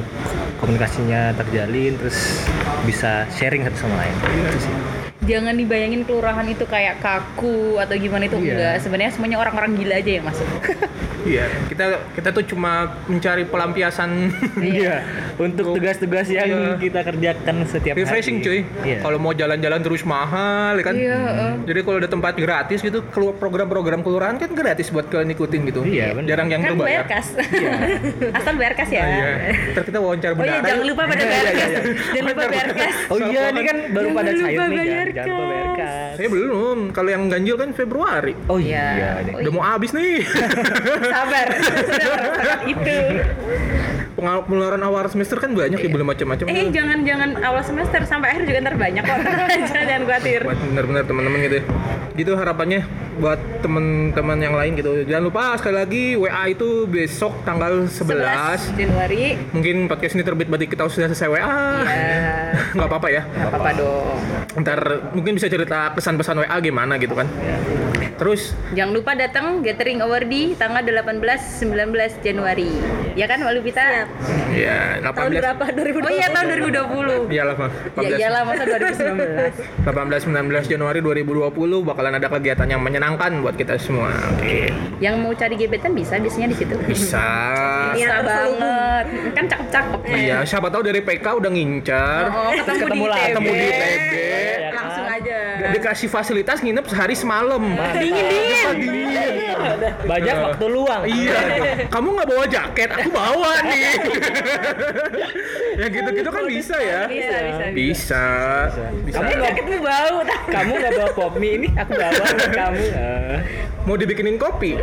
Speaker 3: komunikasinya terjalin terus bisa sharing satu sama lain. Itu sih.
Speaker 2: jangan dibayangin kelurahan itu kayak kaku atau gimana itu
Speaker 3: Iya.
Speaker 2: enggak sebenarnya semuanya orang-orang gila aja yang masuk
Speaker 1: Iya, kita kita tuh cuma mencari pelampiasan [LAUGHS]
Speaker 3: Iya. Untuk tugas-tugas
Speaker 1: Iya.
Speaker 3: yang kita kerjakan setiap
Speaker 1: refreshing cuy.
Speaker 3: hari. Iya.
Speaker 1: Kalau mau jalan-jalan terus mahal ya kan.
Speaker 2: Iya, eh.
Speaker 1: Jadi kalau ada tempat gratis gitu, keluar program-program kelurahan kan gratis buat kalian ikutin gitu.
Speaker 3: Iya, bener.
Speaker 1: Jarang yang
Speaker 2: kan
Speaker 1: berbayar.
Speaker 2: bayar kas. [LAUGHS] Asal bayar kas ya.
Speaker 1: Iya. Ntar kita wawancara
Speaker 2: Oh iya,
Speaker 1: beneran.
Speaker 2: jangan lupa pada
Speaker 1: Iya,
Speaker 2: bayar kas.
Speaker 1: iya, iya.
Speaker 2: Jangan lupa bayar kas.
Speaker 3: Oh iya, ini kan baru
Speaker 2: Jangan lupa
Speaker 3: pada cair
Speaker 2: bayar
Speaker 3: nih kan. Jangan lupa bayar
Speaker 2: kas.
Speaker 3: kas.
Speaker 1: Saya belum. Kalau yang ganjil kan Februari.
Speaker 3: Oh
Speaker 2: Iya.
Speaker 3: iya. deh.
Speaker 2: Oh,
Speaker 1: Udah mau habis
Speaker 3: [LAUGHS]
Speaker 1: nih.
Speaker 2: Sabar. Sudah merasakan itu.
Speaker 1: Pengal- Pengeluaran awal semester kan banyak ya, belum macam-macam.
Speaker 2: Eh, jangan-jangan awal semester sampai akhir juga ntar banyak kok. [LAUGHS] Jangan khawatir.
Speaker 1: buat bener-bener teman-teman gitu ya. gitu harapannya buat teman-teman yang lain gitu jangan lupa sekali lagi WA itu besok tanggal 11,
Speaker 2: 11 Januari.
Speaker 1: mungkin podcast ini terbit berarti kita sudah selesai WA
Speaker 2: Ya,
Speaker 1: [LAUGHS] nggak apa-apa ya
Speaker 2: nggak apa-apa dong.
Speaker 1: ntar mungkin bisa cerita pesan-pesan WA gimana gitu kan terus
Speaker 2: Jangan lupa datang gathering awardi tanggal 18 19 Januari. Ya kan Walu Pita?
Speaker 4: Siap.
Speaker 1: ya
Speaker 4: Tahun
Speaker 1: 18
Speaker 4: berapa? 2020.
Speaker 2: Oh iya tahun 2020.
Speaker 1: iyalah Pak.
Speaker 2: Ya
Speaker 1: 18
Speaker 2: iyalah masa [LAUGHS]
Speaker 1: 18
Speaker 2: 2019.
Speaker 1: 19 Januari 2020 bakalan ada kegiatan yang menyenangkan buat kita semua. Oke.
Speaker 2: Yang mau cari gebetan bisa biasanya di situ.
Speaker 1: Bisa.
Speaker 4: Iya.
Speaker 2: Bisa
Speaker 4: terselubung.
Speaker 2: banget. Kan cakep-cakep.
Speaker 1: Iya, siapa tahu dari PK udah ngincar.
Speaker 2: Oh, ketemu,
Speaker 3: Ketemu
Speaker 2: di
Speaker 3: lah,
Speaker 2: ITB.
Speaker 1: ketemu di ITB.
Speaker 3: Ya kan?
Speaker 2: Langsung aja.
Speaker 1: Nggak dikasih fasilitas nginep sehari semalam.
Speaker 2: Dingin dingin.
Speaker 3: Banyak waktu luang.
Speaker 1: Iya, kamu nggak bawa jaket, aku bawa nih. ya gitu-gitu kan bisa ya.
Speaker 2: Bisa bisa. bisa.
Speaker 1: Bisa. Bisa.
Speaker 3: Kamu nggak
Speaker 2: Jaketmu bau.
Speaker 3: kamu nggak bawa pop mie ini aku bawa buat kamu. Eh,
Speaker 1: Mau dibikinin kopi.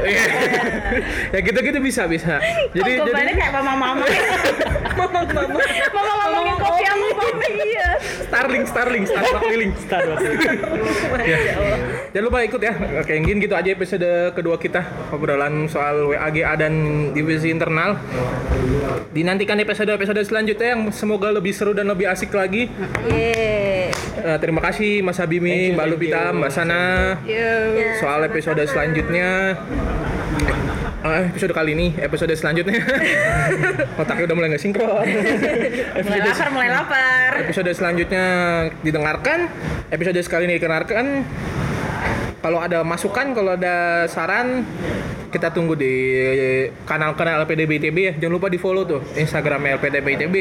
Speaker 1: [LAUGHS] ya gitu-gitu bisa bisa. Jadi
Speaker 2: Jadi
Speaker 1: jadi
Speaker 2: jadi kayak [LAUGHS] mama-mama. Mama-mama. Mama-mama ngomongin kopi sama kopi. Iya.
Speaker 1: Starling Starling Starling keliling.
Speaker 3: Starbucks.
Speaker 1: Ya. Jangan lupa ikut ya. Oke, mungkin gitu aja episode kedua kita obrolan soal WAGA dan divisi internal. Dinantikan episode-episode selanjutnya yang semoga lebih seru dan lebih asik lagi.
Speaker 3: Iya.
Speaker 4: Yeay.
Speaker 1: Eh, terima kasih Mas Habimi,
Speaker 3: Thank you,
Speaker 1: Mbak
Speaker 3: thank
Speaker 1: Lupita,
Speaker 3: you. Iya.
Speaker 1: Mbak Sana
Speaker 2: Yo.
Speaker 4: Ya,
Speaker 1: soal episode
Speaker 4: sama-sama.
Speaker 1: selanjutnya. Eh, episode kali ini, episode
Speaker 2: [LAUGHS]
Speaker 1: selanjutnya. Otaknya udah mulai nggak sinkron.
Speaker 2: Mulai lapar, mulai lapar.
Speaker 1: episode selanjutnya didengarkan episode sekali ini didengarkan kalau ada masukan kalau ada saran kita tunggu di kanal-kanal LPDB ITB ya jangan lupa di follow tuh Instagram LPDB ITB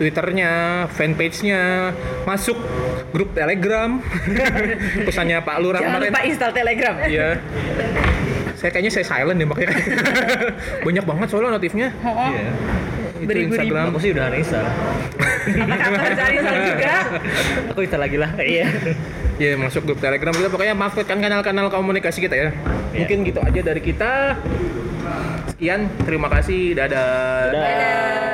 Speaker 1: Twitternya fanpage-nya masuk grup
Speaker 2: [LAUGHS]
Speaker 1: Telegram pesannya Pak Lurah
Speaker 2: Jangan
Speaker 1: kemarin
Speaker 2: lupa install Telegram.
Speaker 1: iya saya kayaknya saya silent deh makanya [LAUGHS] banyak banget soalnya notifnya
Speaker 2: Oh,
Speaker 3: Iya.
Speaker 1: itu
Speaker 2: Beribu-ribu.
Speaker 1: Instagram
Speaker 3: Aku sih udah Anissa.
Speaker 2: apa kabar cari install juga?
Speaker 3: Aku Insta lagi lah. Iya.
Speaker 1: Ya masuk grup Telegram kita pokoknya manfaatkan kanal-kanal komunikasi kita ya.
Speaker 3: Iya.
Speaker 1: Mungkin gitu aja dari kita. Sekian, terima kasih. Dadah.
Speaker 3: Dadah.